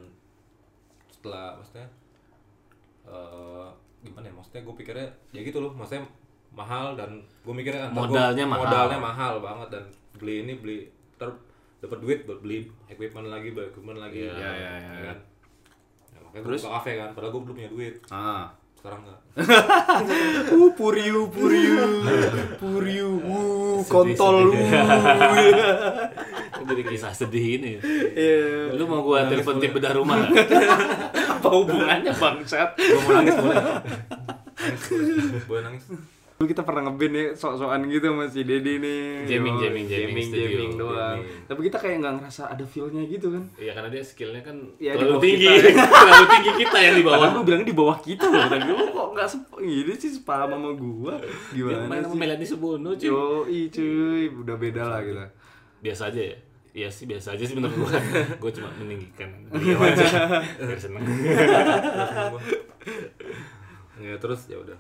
Speaker 3: setelah maksudnya eh gimana ya? Maksudnya gua pikirnya ya gitu loh. Maksudnya mahal dan gua mikirnya ntar gua-
Speaker 2: Modalnya mahal.
Speaker 3: modalnya mahal banget dan beli ini beli ter dapat duit buat beli equipment lagi, beli equipment lagi.
Speaker 4: Iya, iya, iya,
Speaker 3: Ya kan? Ya, makanya Terus? buka kafe kan, padahal gue belum punya duit.
Speaker 4: Ah.
Speaker 3: Sekarang enggak.
Speaker 4: Uh, puriu, puriu, puriu, uh, kontol, uh.
Speaker 2: jadi kisah sedih
Speaker 4: Ya.
Speaker 2: ini?
Speaker 1: Iya.
Speaker 2: Lu mau gua telepon tim bedah rumah? Apa hubungannya bangsat?
Speaker 3: Gue mau nangis boleh. Nangis, boleh nangis.
Speaker 4: Dulu kita pernah ngeband ya, sok-sokan gitu sama si Dedi nih.
Speaker 2: Jamming,
Speaker 4: Yo,
Speaker 2: jamming, jamming,
Speaker 4: jamming,
Speaker 2: studio.
Speaker 4: jamming doang. Tapi kita kayak nggak ngerasa ada feel-nya gitu kan.
Speaker 2: Iya karena dia skillnya kan
Speaker 4: Ya, di
Speaker 2: terlalu
Speaker 4: bawah
Speaker 2: tinggi,
Speaker 4: kita.
Speaker 2: terlalu tinggi kita yang di bawah.
Speaker 4: Padahal lu bilangnya di bawah kita loh. Dan lu kok nggak sepah gini sih sepaham sama gua.
Speaker 2: Dia
Speaker 4: Gimana
Speaker 2: main sama
Speaker 4: sih?
Speaker 2: Melanie Subono cuy.
Speaker 4: Yo, cuy, udah beda lah kita.
Speaker 2: Biasa aja ya. Iya sih biasa aja sih menurut gua. gua cuma meninggikan beliau aja. Biar seneng.
Speaker 3: Terus gua. Ya terus ya udah.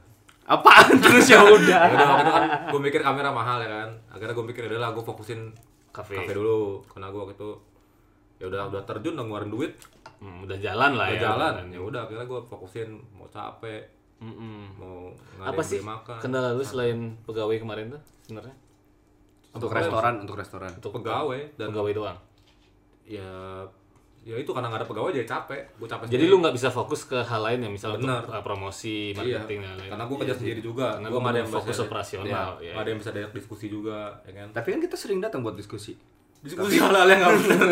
Speaker 4: Apaan terus ya
Speaker 3: Ya
Speaker 4: udah.
Speaker 3: udah waktu itu kan gue mikir kamera mahal ya kan. Akhirnya gue mikir udah lah gue fokusin
Speaker 2: Kafe.
Speaker 3: kafe dulu karena gue waktu itu ya udah udah terjun udah ngeluarin duit
Speaker 2: Hmm, udah jalan lah
Speaker 3: udah
Speaker 2: ya.
Speaker 3: jalan ya udah akhirnya gue fokusin mau capek
Speaker 2: Mm-mm.
Speaker 3: mau nggak ada
Speaker 2: Apa
Speaker 3: yang
Speaker 2: sih
Speaker 3: beli makan
Speaker 2: kendala lu selain pegawai kemarin tuh sebenarnya?
Speaker 4: Untuk restoran, untuk restoran.
Speaker 2: Untuk
Speaker 3: pegawai dan
Speaker 2: pegawai doang.
Speaker 3: ya ya itu karena nggak ada pegawai jadi capek gue capek
Speaker 2: Jadi lu nggak bisa fokus ke hal lain ya, misalnya untuk uh,
Speaker 3: Benar.
Speaker 2: promosi,
Speaker 3: iya
Speaker 2: marketing dan lain-lain. iya.
Speaker 3: karena gue kerja sendiri juga
Speaker 2: Karena
Speaker 3: gue
Speaker 2: lu
Speaker 3: nggak ada yang
Speaker 2: fokus
Speaker 3: bisa-
Speaker 2: operasional,
Speaker 3: iya,
Speaker 2: iya.
Speaker 3: nggak ada yang bisa diajak diskusi juga ya kan
Speaker 4: Tapi kan kita sering datang buat diskusi.
Speaker 3: diskusi hal hal yang nggak benar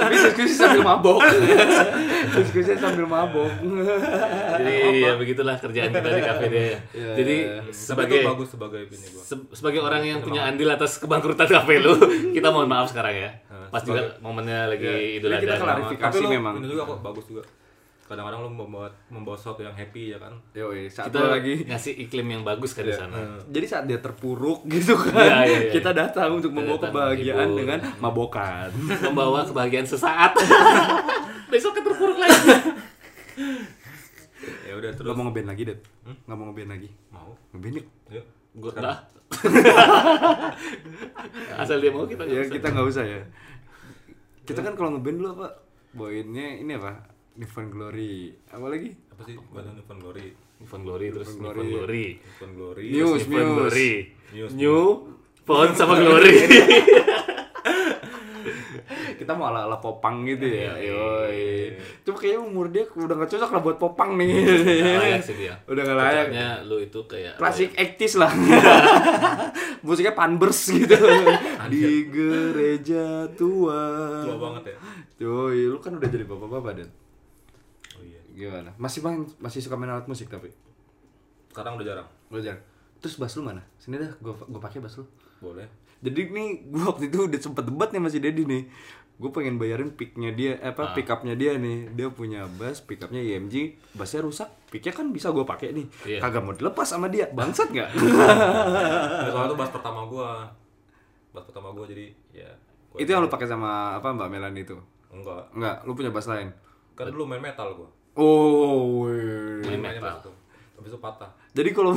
Speaker 4: Tapi diskusi sambil mabok. diskusi sambil mabok.
Speaker 2: Jadi ya begitulah kerjaan kita di kafe deh.
Speaker 3: Iya,
Speaker 2: Jadi
Speaker 3: sebagai
Speaker 2: sebagai
Speaker 3: bagus Iya, sebagai ini gue
Speaker 2: se- sebagai orang yang punya andil atas kebangkrutan kafe lu, kita mohon maaf sekarang ya. Pas juga momennya lagi
Speaker 3: Iya.
Speaker 2: Idul
Speaker 4: Ini kita
Speaker 2: Adha.
Speaker 4: kelar. klarifikasi
Speaker 3: lu
Speaker 4: memang.
Speaker 3: ini juga kok bagus juga kadang-kadang lu membuat membawa sesuatu yang happy ya kan
Speaker 4: Yo, satu
Speaker 2: Kita ya.
Speaker 4: lagi.
Speaker 2: ngasih iklim yang bagus kan di sana.
Speaker 4: Jadi saat dia terpuruk gitu kan,
Speaker 2: Iya, iya, iya.
Speaker 4: kita datang untuk membawa
Speaker 2: datang
Speaker 4: kebahagiaan
Speaker 2: menghibur.
Speaker 4: dengan mabokan.
Speaker 2: Membawa kebahagiaan sesaat. Besok keterpuruk lagi.
Speaker 3: ya udah
Speaker 4: Lu
Speaker 3: terus
Speaker 4: mau ngeband lagi, Det? Nggak mau ngeband lagi?
Speaker 3: mau
Speaker 4: Ngeband yuk.
Speaker 3: yuk
Speaker 2: Gua enggak. Asal dia mau Oh, Iya, kita
Speaker 4: Ya
Speaker 2: nggak
Speaker 4: kita nggak usah ya. Kita kan kalau ngeband dulu apa? Bawainnya ini apa? Nirvana Glory. Apa lagi?
Speaker 3: apa sih badan Nippon Glory
Speaker 2: Nippon Glory terus Nippon Glory.
Speaker 3: Nippon Glory
Speaker 4: News,
Speaker 2: Nippon
Speaker 4: news.
Speaker 2: Glory.
Speaker 3: News,
Speaker 2: New Phone sama Glory.
Speaker 4: Kita mau ala-ala popang gitu ya.
Speaker 2: Iya,
Speaker 4: Yoi. Cuma kayaknya umur dia udah nggak cocok lah buat popang nih.
Speaker 2: Iya. Nggak layak sih dia.
Speaker 4: Udah nggak layak.
Speaker 2: Cocoknya iya. lu itu kayak
Speaker 4: Klasik ektis lah. Musiknya panbers gitu. Di gereja tua.
Speaker 3: tua banget ya
Speaker 4: Yoi, lu kan udah jadi bapak-bapak, Den.
Speaker 3: oh iya
Speaker 4: Gimana? Masih main masih suka main alat musik tapi.
Speaker 3: sekarang udah jarang
Speaker 4: Lu jarang. Terus bass lu mana? Sini dah, gua gua pakai bass lu.
Speaker 3: boleh
Speaker 4: Jadi nih gua waktu itu udah sempet debat nih masih Dedi nih. Gue pengen bayarin picknya dia, eh, apa pick upnya dia nih. Dia punya E bass, pick upnya IMG, bassnya rusak. Picknya kan bisa gue pakai nih.
Speaker 2: Iya.
Speaker 4: Kagak mau dilepas sama dia, bangsat nggak?
Speaker 3: Nah, soalnya itu bass pertama gua bass pertama gua jadi ya gua
Speaker 4: itu yang lu pakai sama apa Mbak Melani itu?
Speaker 3: enggak
Speaker 4: Enggak, lu punya bass lain.
Speaker 3: kan dulu main metal gua
Speaker 4: Oh, weh.
Speaker 2: Main
Speaker 3: mainnya
Speaker 2: metal.
Speaker 3: bass tuh habis itu patah
Speaker 4: jadi kalau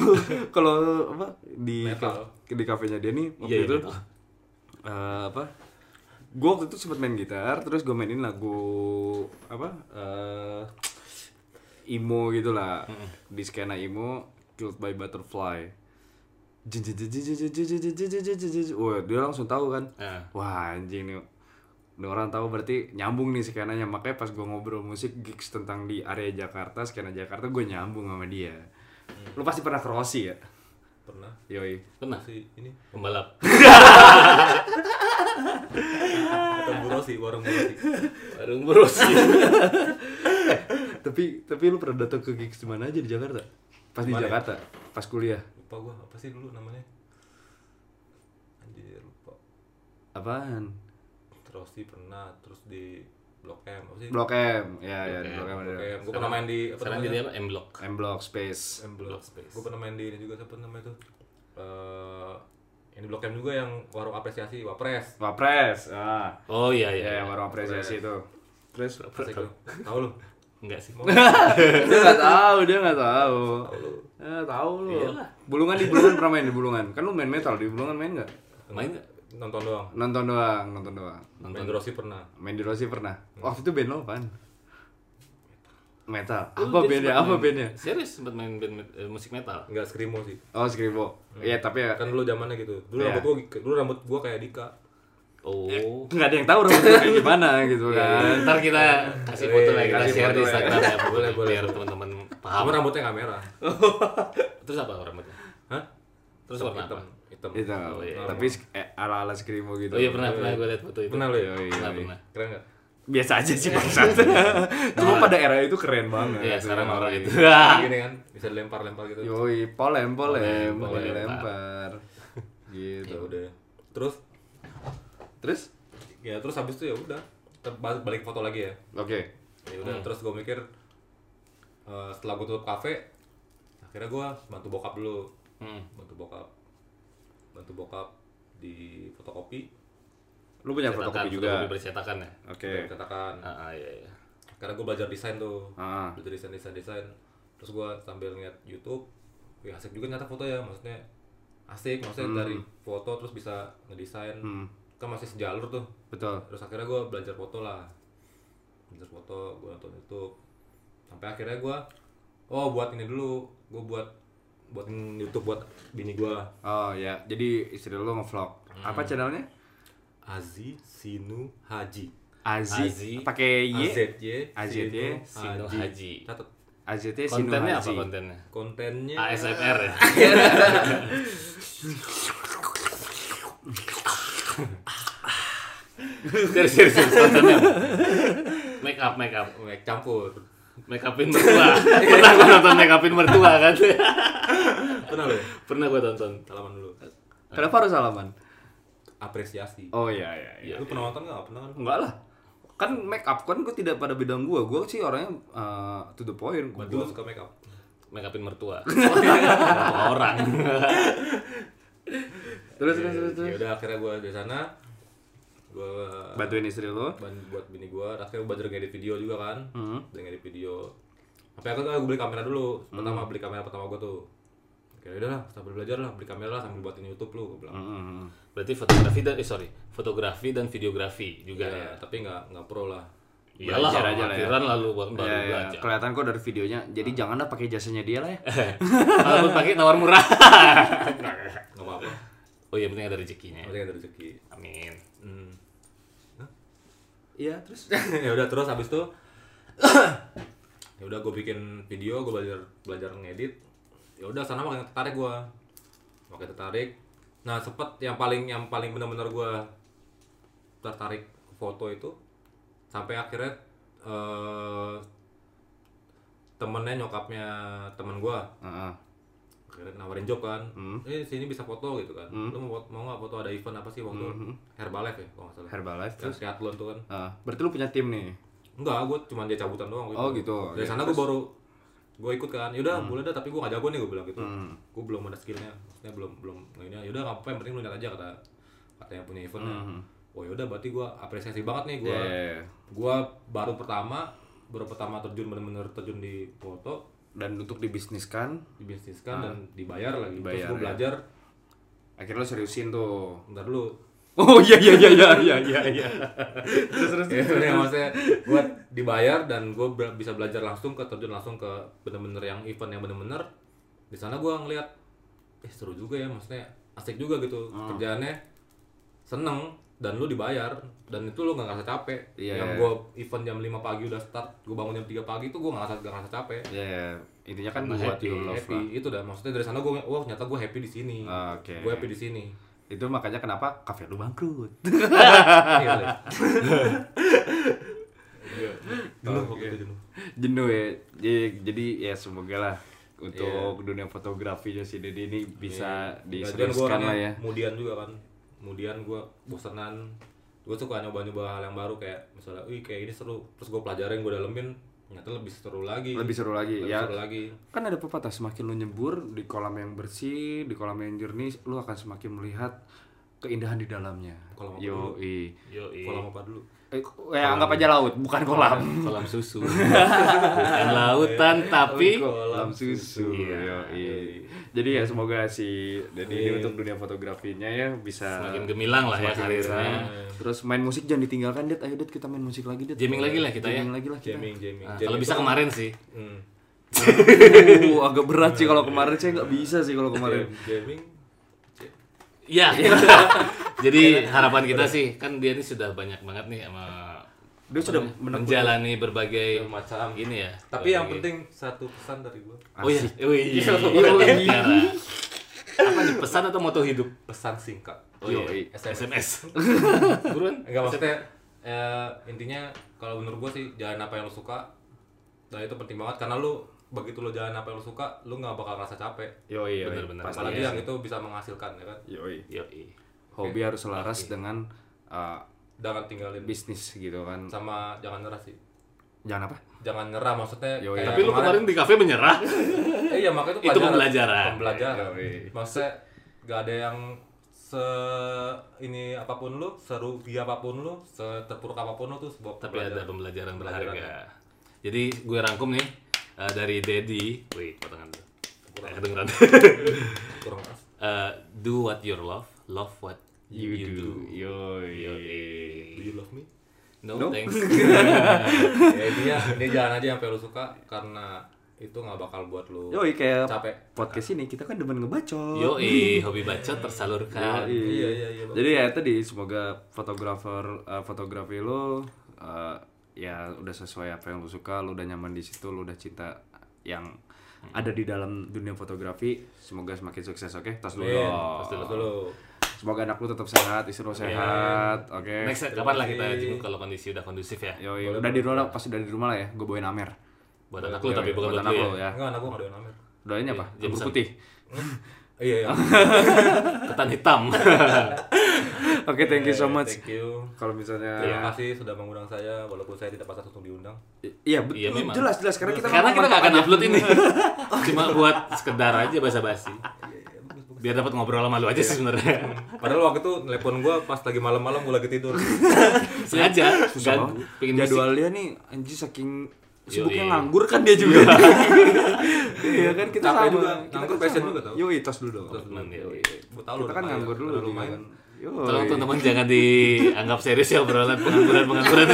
Speaker 4: kalau apa di
Speaker 3: Metal.
Speaker 4: di kafenya dia nih waktu
Speaker 2: Iya, iya,
Speaker 4: itu
Speaker 2: metal.
Speaker 4: eh, apa? Gue waktu itu sempet main gitar, terus gue mainin lagu apa? eh emo gitu lah di skena emo Killed by Butterfly. Jin, jin, jin, jin, jin, jin, jin, jin, jin, jin, jin, jin, jin, jin. Wah, dia langsung tahu kan.
Speaker 2: Eh.
Speaker 4: Wah, anjing nih. Ini orang tahu berarti nyambung nih skenanya. Makanya pas gue ngobrol musik gigs tentang di area Jakarta, skena Jakarta gue nyambung sama dia. Lu pasti pernah ke Rossi ya?
Speaker 3: pernah
Speaker 4: Yoi.
Speaker 2: Pernah
Speaker 3: si ini
Speaker 2: pembalap.
Speaker 3: atau burosi warung burosi
Speaker 2: Warung berusi.
Speaker 4: Tapi tapi lu pernah datang ke gigs di mana aja di Jakarta? Pas di ya?
Speaker 3: Kemarin.
Speaker 4: Jakarta, pas kuliah.
Speaker 3: lupa gua apa sih dulu namanya anjir lupa
Speaker 4: Apaan?
Speaker 3: terus di pernah terus di blok M apa sih
Speaker 4: Blok M. Ya ya di
Speaker 2: M,
Speaker 4: Blok M ada.
Speaker 3: Blok M gua pernah main di apa
Speaker 2: Sekarang
Speaker 3: namanya?
Speaker 2: jadi apa? M-Block.
Speaker 4: M Block Space.
Speaker 3: M Block
Speaker 2: Block
Speaker 3: Space.
Speaker 2: Space.
Speaker 3: Gue pernah main di ini juga siapa namanya tuh? Eh yang di Blok M juga yang warung apresiasi Wapres.
Speaker 4: Wapres. Ah.
Speaker 2: Oh iya
Speaker 4: Ya,
Speaker 2: iya.
Speaker 4: warung apresiasi itu. Terus
Speaker 3: Asik lu. gitu. Tahu lu?
Speaker 2: Enggak sih.
Speaker 4: dia nggak tahu, dia nggak tahu.
Speaker 3: lu.
Speaker 4: Eh, tahu lu.
Speaker 2: Iya
Speaker 4: Bulungan di Bulungan pernah main di Bulungan. Kan lu main metal di Bulungan main nggak?
Speaker 2: Main nggak?
Speaker 3: Nonton doang.
Speaker 4: Nonton doang, nonton doang.
Speaker 3: Main di Rossi pernah.
Speaker 4: Main di Rossi pernah. Waktu itu band lo apaan? Metal. Apa bandnya? Apa bandnya?
Speaker 2: Serius sempat main band met- eh, musik metal.
Speaker 3: Enggak skrimo sih.
Speaker 4: Oh, Skribo.
Speaker 2: Hmm.
Speaker 4: Iya, tapi ya
Speaker 3: Kan dulu zamannya gitu. Dulu
Speaker 4: Iya.
Speaker 3: rambut gua dulu rambut gua kayak Dika.
Speaker 2: Oh.
Speaker 4: nggak ada yang tahu rambut lu kayak gimana
Speaker 2: Iya,
Speaker 4: gitu kan.
Speaker 2: Eh, Ntar kita kasih foto lah, kita
Speaker 3: kasih
Speaker 2: share di
Speaker 3: foto ya.
Speaker 2: Instagram ya,
Speaker 3: Boleh,
Speaker 2: boleh,
Speaker 3: boleh.
Speaker 2: biar teman-teman paham.
Speaker 3: Cuma rambutnya nggak merah.
Speaker 2: Terus apa rambutnya?
Speaker 3: Hah?
Speaker 2: Terus warna
Speaker 3: hitam.
Speaker 2: apa?
Speaker 3: Hitam, hitam.
Speaker 4: Itu.
Speaker 2: Oh, iya.
Speaker 4: Gitu. Tapi sk- eh, ala-ala skrimo gitu.
Speaker 2: Oh iya pernah pernah gue lihat foto itu.
Speaker 3: Pernah lo ya?
Speaker 4: Oh, iya,
Speaker 2: Pernah
Speaker 4: iya.
Speaker 2: pernah.
Speaker 3: Keren nggak?
Speaker 4: Biasa aja sih bangsat. Cuma pada era itu keren banget.
Speaker 2: Iya sekarang orang itu.
Speaker 3: Gini kan bisa dilempar-lempar gitu.
Speaker 4: Yoi, polem, polem,
Speaker 2: Polem,
Speaker 4: polem,
Speaker 2: polem,
Speaker 4: lempar.
Speaker 3: Ya
Speaker 4: Gitu.
Speaker 3: udah. Terus
Speaker 4: Terus?
Speaker 3: ya terus habis itu ya udah Ter- bal- balik foto lagi ya.
Speaker 4: Oke.
Speaker 3: Ya udah terus gue mikir eh, setelah gue tutup kafe akhirnya gue bantu bokap dulu.
Speaker 2: Hmm.
Speaker 3: Bantu bokap. Bantu bokap di fotokopi
Speaker 4: Lu punya
Speaker 2: Cetakan,
Speaker 4: fotokopi juga.
Speaker 2: fotokopi bercetakan ya.
Speaker 3: dan
Speaker 4: Oke.
Speaker 3: katakan
Speaker 2: Ah ah, iya iya.
Speaker 3: karena gue belajar desain tuh
Speaker 4: Ah.
Speaker 3: belajar desain desain desain terus gue sambil ngeliat YouTube wih asik juga nyata foto ya maksudnya asik maksudnya dari foto terus bisa ngedesain kan masih sejalur tuh
Speaker 4: Betul.
Speaker 3: terus akhirnya gue belajar foto lah belajar foto gue nonton YouTube sampai akhirnya gue oh buat ini dulu gue buat buatin YouTube buat bini gue
Speaker 4: Oh ya, jadi istri lu ngevlog. Apa channelnya?
Speaker 3: Azi Sinu Haji
Speaker 2: Azi.
Speaker 4: Aziz. Pakai Y.
Speaker 3: AZY
Speaker 4: AZY,
Speaker 2: Sinu Haji.
Speaker 3: Catat.
Speaker 4: AZT
Speaker 2: Kontennya apa
Speaker 4: Sinuhaji.
Speaker 2: kontennya?
Speaker 3: kontennya
Speaker 2: ASMR ya. Serius serius serius, kontennya. Make up make up.
Speaker 3: Wek campur
Speaker 2: Make upin mertua. Pernah gua nonton make upin mertua kan.
Speaker 3: pernah lo ya?
Speaker 2: Pernah gua tonton.
Speaker 3: salaman dulu
Speaker 4: Kenapa harus salaman?
Speaker 3: apresiasi
Speaker 4: Oh iya iya iya.
Speaker 3: lu pernah nonton nggak pernah kan
Speaker 4: Enggak lah. Kan make up kan gue tidak pada bidang gua. Gua sih orangnya eh, to the point. Gua,
Speaker 3: berarti lu suka makeup
Speaker 2: Make upin mertua. Orang.
Speaker 4: terus terus terus. terus.
Speaker 3: ya udah akhirnya gua dari sana gua
Speaker 4: Bantuin istri lu.
Speaker 3: ban- buat bini gua akhirnya gua belajar ngedit video juga kan
Speaker 4: Hmm.
Speaker 3: belajar ngedit video sampai akhirnya gua beli kamera dulu pertama beli kamera pertama gua tuh Oke, udah lah, sambil belajar lah, beli kamera lah, sambil buatin YouTube lu, gua bilang.
Speaker 4: Mm-mm.
Speaker 2: Berarti fotografi dan eh sorry, fotografi dan videografi juga ya.
Speaker 3: Ya, tapi nggak nggak pro lah.
Speaker 2: Iyalah,
Speaker 4: Belajar aja lah
Speaker 2: aja
Speaker 4: ya.
Speaker 2: lalu baru
Speaker 4: Ya, ya,
Speaker 2: belajar.
Speaker 4: kelihatan kok dari videonya. Jadi janganlah pakai jasanya dia lah ya.
Speaker 2: Walaupun pakai nawar murah.
Speaker 3: Nggak apa-apa,
Speaker 2: Oh iya, penting ada rezekinya.
Speaker 3: penting ada rezeki.
Speaker 2: Amin.
Speaker 3: Hmm.
Speaker 4: Iya, terus.
Speaker 3: ya udah terus habis itu ya udah gue bikin video gue belajar belajar ngedit ya udah sana makin tertarik gue makin tertarik nah sempet yang paling yang paling benar-benar gue tertarik foto itu sampai akhirnya eh, temennya nyokapnya temen gue
Speaker 4: Heeh.
Speaker 3: akhirnya nawarin job kan eh sini bisa foto gitu kan lu mau mau nggak foto ada event apa sih waktu Herbalife ya kalau nggak salah
Speaker 4: Herbalife
Speaker 3: terus
Speaker 4: terus.
Speaker 3: triathlon tuh kan
Speaker 4: Ah, berarti lu punya tim nih.
Speaker 3: Enggak, gue cuma dia cabutan doang.
Speaker 4: Oh, gitu. Hmm.
Speaker 3: Dari
Speaker 4: Oke,
Speaker 3: sana gue baru gue ikut kan. Yaudah, boleh dah tapi gue gak jago nih gue bilang gitu.
Speaker 4: Hmm.
Speaker 3: Gue belum ada skillnya, maksudnya belum belum ini. Yaudah, nggak apa-apa yang penting lu lihat aja kata kata yang punya eventnya. Oh yaudah, berarti gue apresiasi banget nih gue.
Speaker 4: Hmm. Iya, iya, iya.
Speaker 3: Gue baru pertama baru pertama terjun bener-bener terjun di foto
Speaker 4: Dan untuk dibisniskan,
Speaker 3: dibisniskan dan dibayar
Speaker 4: Ah.
Speaker 3: lagi terus
Speaker 4: Dibayar,
Speaker 3: gue
Speaker 4: ya.
Speaker 3: belajar
Speaker 4: akhirnya lu seriusin tuh.
Speaker 3: bentar dulu
Speaker 4: Oh iya iya iya iya iya iya. iya. terus terus.
Speaker 3: Ya, bener, maksudnya gue dibayar dan gue bisa belajar langsung ke terjun langsung ke bener-bener yang event yang bener-bener di sana gue ngeliat eh seru juga ya maksudnya asik juga gitu
Speaker 4: Hmm.
Speaker 3: kerjaannya seneng dan lu dibayar dan itu lu nggak ngerasa capek
Speaker 4: Iya.
Speaker 3: yang gue event jam 5 pagi udah start gue bangun jam 3 pagi itu gue nggak ngerasa, nggak ngerasa capek
Speaker 4: Ya, ya. intinya kan
Speaker 2: Nah,
Speaker 4: buat
Speaker 2: happy,
Speaker 4: you love
Speaker 3: happy
Speaker 4: lah.
Speaker 3: itu dah maksudnya dari sana gue wah ternyata gue happy di sini
Speaker 4: Oke.
Speaker 3: gue happy di sini
Speaker 4: Itu makanya kenapa kafe lu bangkrut.
Speaker 3: Iya, Le. Iya. Jenuh waktu itu jenuh.
Speaker 4: Jenuh ya. Jadi, jadi ya semoga lah untuk dunia fotografinya si Dede ini bisa
Speaker 3: Lagian gue
Speaker 4: diseriuskan lah ya.
Speaker 3: Kemudian juga kan. Kemudian gue bosenan. Gue suka nyoba-nyoba hal yang baru kayak misalnya, wih kayak ini seru. Terus gue pelajarin, gue dalemin, ternyata lebih seru lagi.
Speaker 4: Lebih seru lagi
Speaker 3: Lebih
Speaker 4: ya.
Speaker 3: seru lagi.
Speaker 4: Kan ada pepatah semakin lu nyebur di kolam yang bersih, di kolam yang jernih, lu akan semakin melihat keindahan di dalamnya.
Speaker 3: Kolam apa
Speaker 4: Yo, eh,
Speaker 2: Yo,
Speaker 3: Kolam apa dulu?
Speaker 4: eh, anggap aja laut, bukan kolam.
Speaker 2: kolam susu. Bukan lautan tapi
Speaker 4: kolam susu. Iya. Jadi ya semoga si Dedi ini untuk dunia fotografinya ya bisa
Speaker 2: semakin gemilang lah ya karirnya.
Speaker 4: Terus main musik jangan ditinggalkan, Det. Ayo, Det, kita main musik lagi, Det.
Speaker 2: Jamming lagi lah kita ya.
Speaker 4: Jamming lagi lah kita.
Speaker 3: Jamming, jamming.
Speaker 2: Nah,
Speaker 3: Jamming
Speaker 2: kalau bisa
Speaker 3: itu-
Speaker 2: kemarin sih.
Speaker 3: Hmm.
Speaker 4: Uh, agak berat sih kalau kemarin saya nggak bisa sih kalau kemarin.
Speaker 3: Jamming.
Speaker 2: Iya. Jadi harapan kita sih kan dia ini sudah banyak banget nih sama
Speaker 4: Dia sudah
Speaker 2: menjalani berbagai
Speaker 3: macam.
Speaker 2: gini ya.
Speaker 3: Tapi yang
Speaker 2: berbagai- iya,
Speaker 3: penting satu pesan dari gue.
Speaker 2: Oh iya, oh iya.
Speaker 4: Iya,
Speaker 2: Tiara.
Speaker 4: Apa
Speaker 2: pesan atau moto hidup
Speaker 3: pesan singkat
Speaker 2: oh, iya.
Speaker 4: Yoi.
Speaker 2: SMS buruan
Speaker 3: enggak maksudnya eh, intinya kalau menurut gue sih jalan apa yang lo suka dan itu penting banget karena lu begitu lo jalan apa yang lo suka lu nggak bakal ngerasa capek
Speaker 4: Yoi, yoi.
Speaker 2: Bener-bener.
Speaker 4: Pasti. ya.
Speaker 3: apalagi
Speaker 2: iya
Speaker 3: yang itu bisa menghasilkan ya kan
Speaker 4: Yoi.
Speaker 2: Yoi.
Speaker 4: Hobi harus selaras dengan uh,
Speaker 3: jangan tinggalin
Speaker 4: bisnis gitu kan.
Speaker 3: sama jangan nyerah sih
Speaker 4: Jangan apa?
Speaker 3: jangan nyerah maksudnya
Speaker 4: Yoi.
Speaker 3: kayak
Speaker 2: tapi lu kemarin di kafe menyerah
Speaker 3: Eh, iya makanya itu
Speaker 2: Itu pembelajaran.
Speaker 3: Pembelajaran.
Speaker 4: Yoi.
Speaker 3: Maksudnya gak ada yang se ini apapun lu, serugi apapun lu, seterpuruk apapun lu tuh sebuah
Speaker 2: tapi ada pembelajaran
Speaker 3: Pembelajaran.
Speaker 2: berharga jadi gue rangkum nih eh, dari Dedi wait potongan dulu Eh, kedengeran
Speaker 3: kurang keras.
Speaker 2: Eh, do what you love love what you,
Speaker 4: You do. Yoi.
Speaker 3: Do you love me?
Speaker 2: no,
Speaker 4: No.
Speaker 2: thanks
Speaker 3: ya dia, dia jalan aja sampai lu suka karena itu nggak bakal buat lu
Speaker 4: Yoi kayak
Speaker 3: capek.
Speaker 4: podcast ini kita kan demen ngebacot.
Speaker 2: Yoi, hobi bacot tersalurkan
Speaker 3: Iya, iya, iya,
Speaker 4: Jadi ya tadi semoga fotografer eh, fotografi lo eh, ya udah sesuai apa yang lo suka, lo udah nyaman di situ, lo udah cinta yang
Speaker 3: Hmm.
Speaker 4: ada di dalam dunia fotografi. Semoga semakin sukses, oke? Tas dulu.
Speaker 3: Amin.
Speaker 4: dong.
Speaker 3: Terus dulu.
Speaker 4: Semoga anak lo tetap sehat, istri lo sehat, oke?
Speaker 2: next kapan lah kita jenguk kalau kondisi udah kondusif ya
Speaker 4: Yoi, udah di rumah lah, pas udah di rumah lah ya, gue bawain Amer.
Speaker 2: buat anak lu
Speaker 4: Yoi,
Speaker 2: tapi bukan buat
Speaker 4: anak
Speaker 2: lu ya
Speaker 4: lo ya.
Speaker 3: Enggak, anak gua nggak ada yang namanya.
Speaker 4: Doainnya apa? Jamur putih.
Speaker 3: Iya, iya.
Speaker 2: ketan hitam
Speaker 4: Oke, thank you so much. Iya.
Speaker 3: Iya, Thank you.
Speaker 4: Kalau
Speaker 2: Iya,
Speaker 4: misalnya
Speaker 3: Terima kasih sudah mengundang saya walaupun saya tidak pas langsung diundang.
Speaker 4: I- Iya, betul.
Speaker 2: Iya, memang.
Speaker 4: jelas jelas karena kita ya. Iya,
Speaker 2: karena
Speaker 4: ngomong
Speaker 2: kita nggak akan
Speaker 4: mantap
Speaker 2: upload ini cuma buat sekedar aja
Speaker 4: Iya,
Speaker 2: basa-basi biar dapat ngobrol sama lu aja sih sebenarnya
Speaker 3: Padahal waktu itu telepon gua pas lagi malam-malam gua lagi tidur.
Speaker 4: aja.
Speaker 2: sengaja ganggu
Speaker 4: Susah
Speaker 2: pingin
Speaker 4: banget.
Speaker 2: musik
Speaker 4: jadwalnya nih anjir saking sibuknya
Speaker 2: Yoi.
Speaker 4: nganggur kan dia juga. Iya kan kita
Speaker 3: Capek
Speaker 4: sama.
Speaker 3: juga.
Speaker 4: Kita
Speaker 3: Nganggur
Speaker 4: kan
Speaker 3: passion
Speaker 4: sama.
Speaker 3: juga tau.
Speaker 4: Yoi, tos dulu dong.
Speaker 2: teman ya.
Speaker 3: Gua tahu
Speaker 4: Kita kan nganggur dulu juga
Speaker 3: lumayan.
Speaker 4: kan. Yoi.
Speaker 2: tolong teman-teman jangan dianggap serius ya obrolan pengangguran
Speaker 4: Iya,
Speaker 2: pengangguran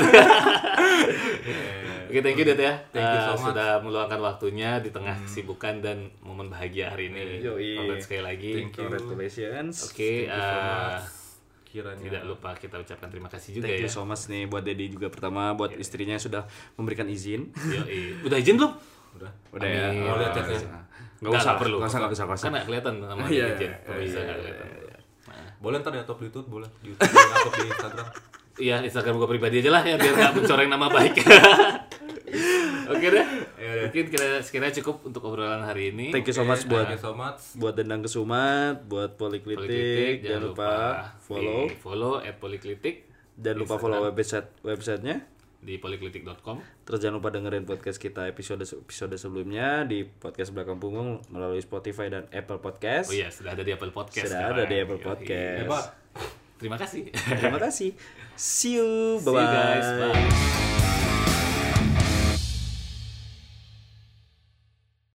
Speaker 2: Oke, thank you Det ya.
Speaker 3: Thank you so
Speaker 2: Eh,
Speaker 3: much.
Speaker 2: Sudah meluangkan waktunya di tengah kesibukan dan momen bahagia hari ini.
Speaker 4: Hmm. Iya, Yoi.
Speaker 2: Congrats sekali lagi.
Speaker 4: Thank you. Congratulations.
Speaker 2: Oke, eh,
Speaker 3: Kiranya.
Speaker 2: tidak lupa kita ucapkan terima kasih juga
Speaker 4: Ya. Thank
Speaker 2: ya.
Speaker 4: you so much nih buat Dedi juga pertama
Speaker 2: Iya.
Speaker 4: buat istrinya sudah memberikan izin.
Speaker 2: Yoi. Udah izin belum?
Speaker 3: Udah.
Speaker 4: Udah ya.
Speaker 2: Amin. Iya,
Speaker 3: Mau lihat
Speaker 4: Oh,
Speaker 3: chatnya?
Speaker 4: Nggak usah
Speaker 2: nggak perlu.
Speaker 4: Nggak usah, nggak usah, nggak usah.
Speaker 2: Kan nggak kelihatan gitu sama
Speaker 4: Iya,
Speaker 2: izin.
Speaker 4: iya,
Speaker 2: Pemirsa Oh, nggak kelihatan. Nah,
Speaker 3: Boleh ntar di upload di YouTube, boleh. Di YouTube, di upload di Instagram.
Speaker 2: Iya, Instagram gue pribadi aja lah ya biar nggak mencoreng nama baik. Oke deh. Ya Mungkin kira sekiranya cukup untuk obrolan hari ini.
Speaker 4: Thank you so much buat
Speaker 3: Thank you so much.
Speaker 4: buat dendang kesumat, buat poliklitik, jangan lupa follow,
Speaker 2: di follow at poliklitik
Speaker 4: jangan lupa follow website websitenya.
Speaker 2: di poliklitik.com.
Speaker 4: Terus jangan lupa dengerin podcast kita episode episode sebelumnya di podcast belakang punggung melalui Spotify dan Apple Podcast.
Speaker 2: Oh iya, sudah ada di Apple Podcast.
Speaker 4: Sudah ada
Speaker 2: sekarang.
Speaker 4: di Apple
Speaker 2: Yoi. Ya,
Speaker 4: Podcast.
Speaker 3: Hebat.
Speaker 2: Terima kasih.
Speaker 4: Terima kasih. See you.
Speaker 2: See you
Speaker 4: Bye-bye.
Speaker 2: guys. Bye.